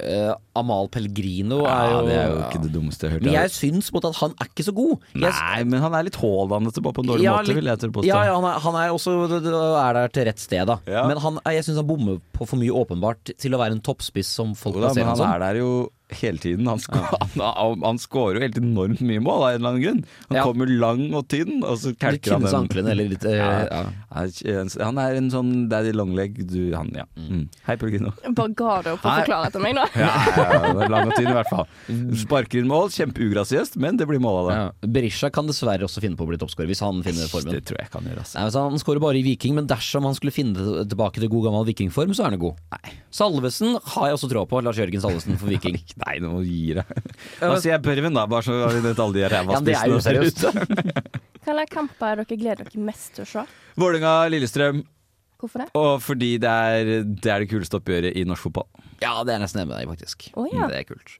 [SPEAKER 2] Eh, Amal Pellegrino er
[SPEAKER 1] Ja,
[SPEAKER 2] jo
[SPEAKER 1] det er jo ikke det dummeste jeg har hørt.
[SPEAKER 2] Men jeg syns på en måte at han er ikke så god. Jeg
[SPEAKER 1] Nei, men han er litt hårdannete på en dårlig måte,
[SPEAKER 2] litt-
[SPEAKER 1] vil jeg tørre påstå.
[SPEAKER 2] Ja, ja, han, er, han er også d- d- er der til rett sted, da.
[SPEAKER 1] Ja.
[SPEAKER 2] Men han, jeg syns han bommer på for mye åpenbart til å være en toppspiss som folk
[SPEAKER 1] Jo da, men
[SPEAKER 2] plasserer
[SPEAKER 1] han
[SPEAKER 2] ham som.
[SPEAKER 1] er der jo hele tiden. Han, sko han, han scorer jo helt enormt mye mål av en eller annen grunn. Han
[SPEAKER 2] Ja.
[SPEAKER 1] kommer lang og tynn, og så
[SPEAKER 2] Litt
[SPEAKER 1] kelker han
[SPEAKER 2] knuse
[SPEAKER 1] den.
[SPEAKER 2] anklene, eller litt eh,
[SPEAKER 1] Ja.
[SPEAKER 2] ja.
[SPEAKER 1] Er- Han er en sånn daddy long leg, du han, ja. Mm. Hei, Pellegrino.
[SPEAKER 3] Bare ga det opp å
[SPEAKER 1] Nei.
[SPEAKER 3] forklare etter meg nå.
[SPEAKER 1] Ja, ja, ja, det er lang og tynn i hvert fall. Sparker inn mål, kjempeugrasiøst, men det blir mål av det.
[SPEAKER 2] Mm. Ja. Berisha kan dessverre også finne på å bli toppskårer, hvis han finner formen.
[SPEAKER 1] Det tror jeg kan gjøre, altså.
[SPEAKER 2] Nei, men så Han skårer bare i Viking, men dersom han skulle finne det tilbake til god gammel vikingform, så er han god. Salvesen har jeg også troa på. Lars Jørgen Salvesen for Viking.
[SPEAKER 1] Nei, nå gir jeg. Hva sier jeg Børven, da? Bare så har vi nødt alle de ræva
[SPEAKER 2] Ja, men det er jo
[SPEAKER 1] spissene der
[SPEAKER 2] seriøst.
[SPEAKER 1] ute.
[SPEAKER 3] Hva slags kamper er dere gleder dere mest til å se?
[SPEAKER 1] Vålerenga-Lillestrøm,
[SPEAKER 3] Hvorfor det?
[SPEAKER 1] og fordi det er, det er det kuleste oppgjøret i norsk fotball.
[SPEAKER 2] Ja, det er jeg nesten enig med deg, i, faktisk.
[SPEAKER 3] Å, ja.
[SPEAKER 2] Det er kult.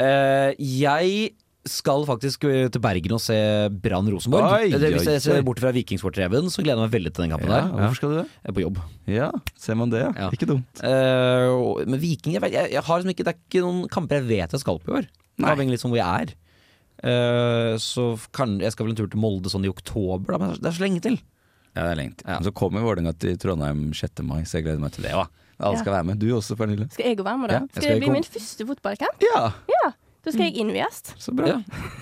[SPEAKER 2] Eh, jeg skal faktisk eh, til Bergen og se Brann Rosenborg. Eh,
[SPEAKER 1] Oi,
[SPEAKER 2] Det- Hvis
[SPEAKER 1] oi,
[SPEAKER 2] jeg ser
[SPEAKER 1] oi.
[SPEAKER 2] bort fra Vikingsportreven, så gleder jeg meg veldig til den kampen
[SPEAKER 1] Ja,
[SPEAKER 2] der.
[SPEAKER 1] hvorfor skal du det?
[SPEAKER 2] Jeg er på jobb. Eh,
[SPEAKER 1] Ja, ser man det, ja. Ikke dumt.
[SPEAKER 2] men Viking jeg, vet- jeg, jeg har liksom ikke, Det er ikke noen kamper jeg vet jeg skal på i år. Det Avhengig litt sånn hvor jeg er. Eh, så kan, jeg skal vel en tur til Molde sånn i oktober, da, men det er så lenge til.
[SPEAKER 1] Ja, det er lenge til. Så kommer Vålerenga til Trondheim 6. mai, så jeg gleder meg til det. Va? Alle
[SPEAKER 3] Ja.
[SPEAKER 1] skal være med. Du også, Pernille.
[SPEAKER 3] Skal jeg gå være med, da?
[SPEAKER 1] Ja, jeg
[SPEAKER 3] skal,
[SPEAKER 1] skal
[SPEAKER 3] det bli
[SPEAKER 1] gå.
[SPEAKER 3] min første fotballkamp? Mm.
[SPEAKER 1] Ja.
[SPEAKER 3] Da skal jeg innvies.
[SPEAKER 1] Så bra.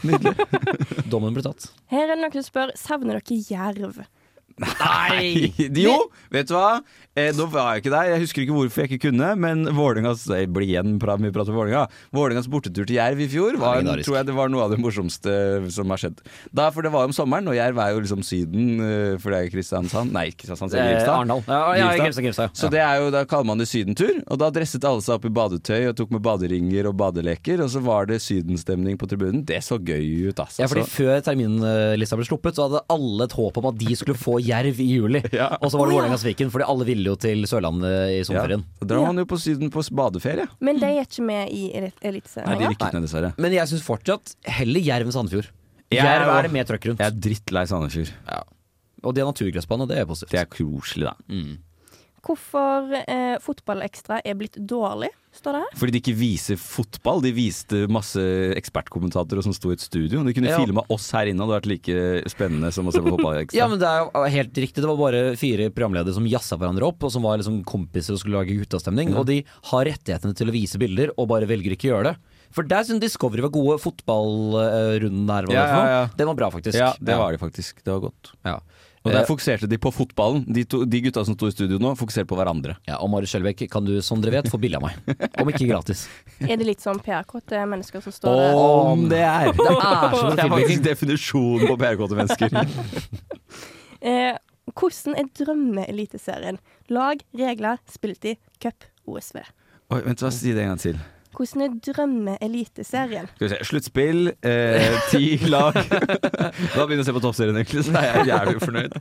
[SPEAKER 2] Nydelig. Dommen ble tatt.
[SPEAKER 3] Her er det noen som spør Savner dere jerv.
[SPEAKER 1] Nei! jo, vet du hva? Eh, nå var jeg ikke der, jeg husker ikke hvorfor jeg ikke kunne, men Vålerengas Jeg blir igjen pra- mye prat om Vålerenga. Vålerengas bortetur til Jerv i fjor var, en,
[SPEAKER 2] Legendarisk.
[SPEAKER 1] tror jeg det var noe av det morsomste som har skjedd. Da, for det var jo om sommeren, og Jerv er jo liksom Syden, eh, for det er jo Kristiansand Nei, Kristiansand sier
[SPEAKER 2] Eh,
[SPEAKER 1] Grimstad.
[SPEAKER 2] Arendal. Ja, ja, Grimstad, Grimstad, ja.
[SPEAKER 1] Så det er jo, da kaller man det sydentur, og da dresset alle seg opp i badetøy og tok med baderinger og badeleker, og så var det sydenstemning på tribunen. Det så gøy ut, altså.
[SPEAKER 2] Ja, fordi
[SPEAKER 1] Så-
[SPEAKER 2] Før terminlista ble sluppet, så hadde alle et håp om at de skulle få jerv i juli. Og så var det Vålerenga-Sviken, fordi alle ville jo til Sørlandet i sommerferien.
[SPEAKER 1] Ja, da drar man jo på Syden på badeferie.
[SPEAKER 3] Men de er ikke med i elit- Eliteserien.
[SPEAKER 1] rykket ned, dessverre.
[SPEAKER 2] Men jeg syns fortsatt heller jerv enn Sandefjord.
[SPEAKER 1] Jeg er
[SPEAKER 2] jerv
[SPEAKER 1] jo-
[SPEAKER 2] er det mer trøkk rundt.
[SPEAKER 1] Jeg er drittlei Sandefjord.
[SPEAKER 2] Og de har naturgressbane, og det er positivt.
[SPEAKER 1] Det er koselig, da.
[SPEAKER 3] Hvorfor eh, fotballekstra er blitt dårlig, står det her.
[SPEAKER 1] Fordi de ikke viser fotball. De viste masse ekspertkommentatorer som sto i et studio. De kunne
[SPEAKER 2] Ja.
[SPEAKER 1] filma oss her inne, og det hadde vært like spennende som å se på fotball.
[SPEAKER 2] Ja, men det er jo eh, helt riktig. Det var bare fire programledere som jazza hverandre opp, og som var liksom kompiser og skulle lage guttastemning. Og de har rettighetene til å vise bilder, og bare velger ikke å gjøre det. For der syns Discovery var gode. Fotballrunden der, hva det
[SPEAKER 1] Ja,
[SPEAKER 2] var for noe.
[SPEAKER 1] ja, ja.
[SPEAKER 2] Den var bra, faktisk.
[SPEAKER 1] Ja, det var de faktisk. Det var godt. Og
[SPEAKER 2] Eh,
[SPEAKER 1] der fokuserte de på fotballen. De, to, de gutta som sto i studio nå, fokuserte på hverandre.
[SPEAKER 2] Ja, og Mari Skjelbæk, kan du, som dere vet, få bilde av meg. Om ikke gratis.
[SPEAKER 3] Er det litt sånn PR-kåte mennesker som står der?
[SPEAKER 1] Om det er!
[SPEAKER 2] Det er så
[SPEAKER 1] Det er
[SPEAKER 2] profilbygging.
[SPEAKER 1] faktisk definisjonen på PR-kåte mennesker.
[SPEAKER 3] Eh, hvordan er drømmeeliteserien? Lag, regler, spilletid, cup, OSV.
[SPEAKER 1] Oi, vent, hva Si det en gang til.
[SPEAKER 3] Hvordan er drømmeeliteserien?
[SPEAKER 1] Skal vi se. Sluttspill, eh, ti lag. da begynner vi å se på toppserien, egentlig. Så er jeg jævlig fornøyd.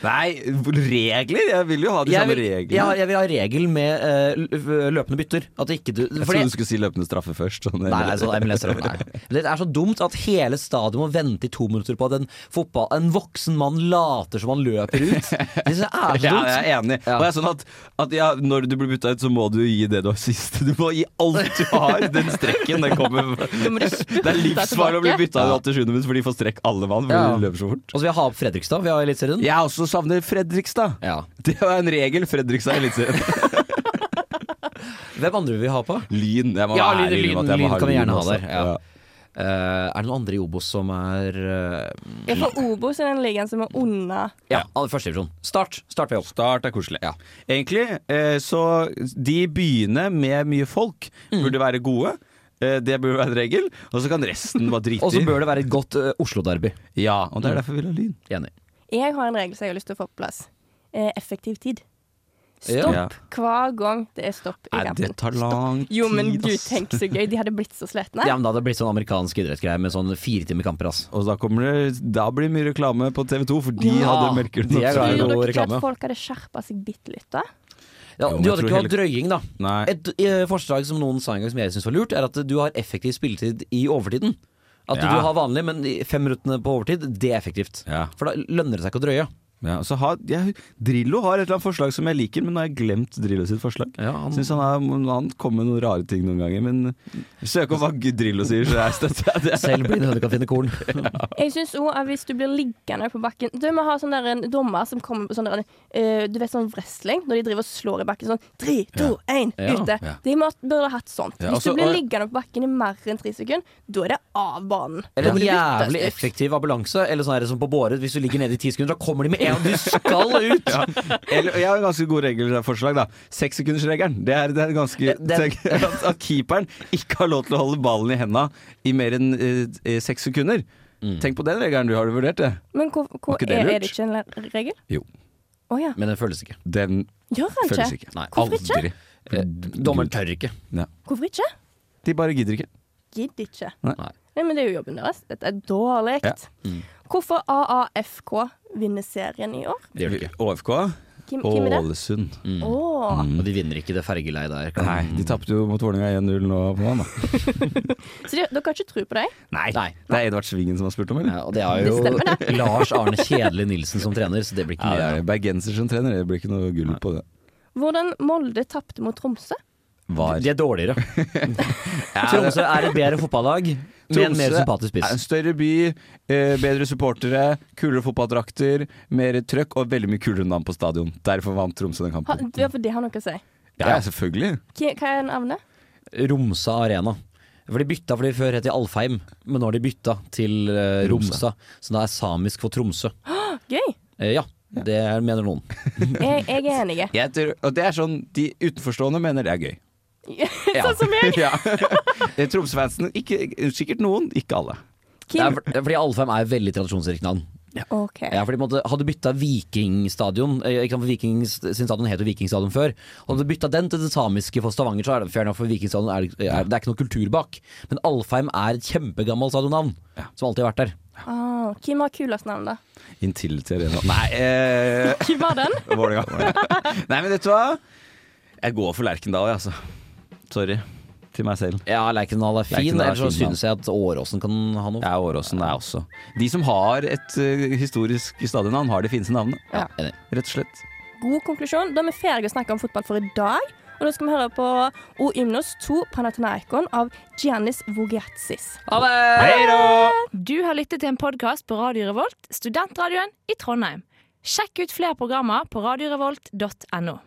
[SPEAKER 1] Nei, regler? Jeg vil jo ha de
[SPEAKER 2] Jeg
[SPEAKER 1] samme
[SPEAKER 2] vil,
[SPEAKER 1] reglene.
[SPEAKER 2] ja, jeg vil ha regel med eh, lø- løpende bytter. At ikke du
[SPEAKER 1] Jeg
[SPEAKER 2] fordi-
[SPEAKER 1] trodde du skulle si løpende straffe først. Sånn,
[SPEAKER 2] Nei, nei, sånn MLS -straff, nei. Men Det er så dumt at hele stadion må vente i to minutter på at en, fotball, en voksen mann later som han løper ut. Det synes jeg er så dumt.
[SPEAKER 1] Ja, jeg er enig. Og det er sånn at, at ja, Når du blir bytta ut, så må du gi det du har sist. Du må gi alt du har. Den strekken, den kommer
[SPEAKER 2] må du spurte
[SPEAKER 1] Det er livsfarlig å bli
[SPEAKER 2] tilbake.
[SPEAKER 1] bytta ut i 87. minutt, for de får strekk alle mann. Fordi
[SPEAKER 2] Ja.
[SPEAKER 1] de løper så fort
[SPEAKER 2] Og så vil jeg ha opp Fredrikstad. Vi har Eliteserien.
[SPEAKER 1] Jeg også savner Fredrikstad. Det var en regel. Fredrikstad er litt
[SPEAKER 2] Hvem andre vil vi ha på?
[SPEAKER 1] Lyn. Jeg må
[SPEAKER 2] Ja,
[SPEAKER 1] være
[SPEAKER 2] lyn,
[SPEAKER 1] ærlig
[SPEAKER 2] lyn,
[SPEAKER 1] om at
[SPEAKER 2] lyn,
[SPEAKER 1] jeg må ha
[SPEAKER 2] kan vi
[SPEAKER 1] Lyn altså.
[SPEAKER 2] gjerne ha
[SPEAKER 1] også.
[SPEAKER 2] der. Ja. Eh, er det noen andre i Obos som er eh,
[SPEAKER 3] Ja, for Obos er den ligaen som er unna
[SPEAKER 2] Ja, ja. første divisjon. Start. Start ved opp.
[SPEAKER 1] Start er koselig. Egentlig, eh, så de byene med mye folk
[SPEAKER 2] Mm.
[SPEAKER 1] burde være gode. Eh, Det burde være en regel. Og så kan resten bare drite i.
[SPEAKER 2] Og så bør det være et godt eh, Oslo-derby.
[SPEAKER 1] Ja, og det er derfor vi vil ha Lyn.
[SPEAKER 2] Enig.
[SPEAKER 3] Jeg har en regel som jeg har lyst til å få på plass. Eh, effektiv tid.
[SPEAKER 2] Ja.
[SPEAKER 3] Stopp
[SPEAKER 2] Ja.
[SPEAKER 3] hver gang det er stopp i
[SPEAKER 2] Nei, det
[SPEAKER 3] kampen.
[SPEAKER 2] tar lang
[SPEAKER 3] Jo, men
[SPEAKER 2] tid,
[SPEAKER 3] gud,
[SPEAKER 2] ass.
[SPEAKER 3] tenk så gøy. De hadde blitt så slitne.
[SPEAKER 2] Ja, men Da hadde det blitt sånn amerikansk idrettsgreie med sånn fire timer kamper. ass.
[SPEAKER 1] Og da, kommer det, da blir det mye reklame på TV 2, for de
[SPEAKER 2] Ja,
[SPEAKER 1] hadde melker
[SPEAKER 2] de er glad i
[SPEAKER 3] Tror
[SPEAKER 2] god
[SPEAKER 3] dere ikke
[SPEAKER 2] reklame.
[SPEAKER 3] at folk hadde skjerpa seg bitte litt, da?
[SPEAKER 2] Ja,
[SPEAKER 1] Jo, men
[SPEAKER 2] du
[SPEAKER 1] jeg
[SPEAKER 2] hadde
[SPEAKER 1] tror
[SPEAKER 2] ikke hatt
[SPEAKER 1] hele-
[SPEAKER 2] drøying, da.
[SPEAKER 1] Nei.
[SPEAKER 2] Et eh, forslag som noen sa en gang som jeg syns var lurt, er at du har effektiv spilletid i overtiden. At
[SPEAKER 1] Ja.
[SPEAKER 2] du har vanlig, men de fem minuttene på overtid, det er effektivt. For da lønner det seg ikke å drøye.
[SPEAKER 1] Ja, og så har, jeg, Drillo har et eller annet forslag som jeg liker, men nå har jeg glemt Drillo sitt forslag.
[SPEAKER 2] han-
[SPEAKER 1] Synes han, har, han kommer med noen rare ting noen ganger, men søk om hva Drillo sier, så jeg støtter jeg det.
[SPEAKER 2] Selv blinde høner kan finne korn.
[SPEAKER 3] Jeg syns òg at hvis du blir liggende på bakken Du må ha sånn der en dommer som kommer på sånn der en, eh, Du vet sånn wrestling, når de driver og slår i bakken sånn Tre, to, én,
[SPEAKER 2] Ja.
[SPEAKER 3] ute.
[SPEAKER 2] Ja.
[SPEAKER 3] De må, burde hatt sånt.
[SPEAKER 2] Ja,
[SPEAKER 3] hvis
[SPEAKER 2] altså,
[SPEAKER 3] du blir
[SPEAKER 2] og-
[SPEAKER 3] liggende på bakken i mer enn tre sekunder, da er det av banen. Da
[SPEAKER 2] Eller en
[SPEAKER 3] blir du byttet
[SPEAKER 2] jævlig
[SPEAKER 3] ut.
[SPEAKER 2] effektiv ambulanse. Eller sånn her som på Båret, hvis du ligger nede i ti sekunder, da kommer de med en gang du skal ut!
[SPEAKER 1] Ja. Eller, jeg har en ganske god regelforslag, da. Sekssekundersregelen. Det er, det er ganske
[SPEAKER 2] Den-
[SPEAKER 1] at, at keeperen ikke har lov til å holde ballen i henda i mer enn eh, eh, seks sekunder.
[SPEAKER 2] Mm.
[SPEAKER 1] Tenk på den regelen du har du vurdert, det.
[SPEAKER 3] Men hvor, hvor,
[SPEAKER 1] Var ikke det
[SPEAKER 3] er,
[SPEAKER 1] lurt?
[SPEAKER 3] er det ikke en le- regel?
[SPEAKER 1] Jo.
[SPEAKER 3] Å ja.
[SPEAKER 2] Men den føles ikke.
[SPEAKER 1] Den
[SPEAKER 3] Gjør han ikke?
[SPEAKER 1] føles ikke.
[SPEAKER 2] Nei,
[SPEAKER 3] Hvorfor ikke?
[SPEAKER 1] aldri.
[SPEAKER 2] Eh, Dommeren tør ikke.
[SPEAKER 1] Ja.
[SPEAKER 3] Hvorfor ikke?
[SPEAKER 1] De bare gidder ikke.
[SPEAKER 3] Gidd ikke.
[SPEAKER 1] Nei.
[SPEAKER 3] Nei, men det er jo jobben deres. Dette er dårlig. Mm.
[SPEAKER 1] Ja.
[SPEAKER 3] Hvorfor AAFK vinner serien i år?
[SPEAKER 1] OFK?
[SPEAKER 3] Hvem, hvem er det?
[SPEAKER 1] Ålesund.
[SPEAKER 2] Mm.
[SPEAKER 3] Åh.
[SPEAKER 2] Og de vinner ikke det fergeleiet der. kan-
[SPEAKER 1] Nei, de tapte jo mot Vålerenga 1-0 nå på mandag.
[SPEAKER 3] Så de, dere har ikke tro på dem?
[SPEAKER 1] Nei, det er Edvard Svingen som har spurt om, eller?
[SPEAKER 2] og det er jo Det stemmer, det. Lars Arne Kjedelig Nilsen som trener, så det blir ikke
[SPEAKER 1] mye. Bergenser som trener, det blir ikke noe gull på det.
[SPEAKER 3] Hvordan Molde tapte mot Tromsø?
[SPEAKER 2] De er dårligere. Tromsø er et bedre fotballag med en mer sympatisk
[SPEAKER 1] er en
[SPEAKER 2] spiss.
[SPEAKER 1] større by, eh, bedre supportere, kulere fotballdrakter, mer trøkk og veldig mye kulere navn på stadion. Derfor vant Tromsø den
[SPEAKER 3] Ha,
[SPEAKER 1] kampen.
[SPEAKER 3] det, for det har noe å si.
[SPEAKER 1] Ja, ja selvfølgelig.
[SPEAKER 3] Hva, hva er navnet?
[SPEAKER 2] Romsa Arena. For de bytta fordi før het de Alfheim, men nå har de bytta til eh, Romsa. Så da er samisk for Tromsø.
[SPEAKER 3] Åh, Ah, Gøy!
[SPEAKER 2] Eh, ja, det er- mener noen.
[SPEAKER 3] Jeg, jeg er enig.
[SPEAKER 1] Jeg tror, og det er sånn de utenforstående mener det er gøy.
[SPEAKER 3] Sånn som jeg.
[SPEAKER 1] ja. Tromsø-fansen, ikke- sikkert noen, ikke alle.
[SPEAKER 2] Det er, for- det er fordi Alfheim er et veldig tradisjonsrikt navn.
[SPEAKER 3] Ok.
[SPEAKER 2] Ja, fordi på en måte, Hadde du bytta Vikingstadion eh, ikke sant, for Viking sin stadion het jo Vikingstadion før. Hadde du bytta den til det samiske for Stavanger, så er det fair enough, for Vikingstadion er, er, det er ikke noe kultur bak. Men Alfheim er et kjempegammelt stadionnavn, som alltid har vært der.
[SPEAKER 3] Ah, hvem har kulest navn, da?
[SPEAKER 1] Intility Arena. Nei eh,
[SPEAKER 3] Hvem var den?
[SPEAKER 1] Vålerenga. Nei, men vet du hva? Jeg går for Lerkendal, jeg, altså. Sorry. Til meg selv.
[SPEAKER 2] Ja, Lerkendal er fin, ellers så synes jeg at Åråsen kan ha noe.
[SPEAKER 1] Ja, Åråsen er også. De som har et eh, historisk stadionnavn, har de fineste navnene.
[SPEAKER 3] Ja.
[SPEAKER 1] Rett og slett.
[SPEAKER 3] God konklusjon. Da er vi ferdige å snakke om fotball for i dag. Og da skal vi høre på O Ymnos 2 Panathinaikon av Giannis Vogiatsis.
[SPEAKER 10] Ha det!
[SPEAKER 3] Hei da!
[SPEAKER 10] Du har lyttet til en podkast på Radio Revolt, studentradioen i Trondheim. Sjekk ut flere programmer på radiorevolt.no.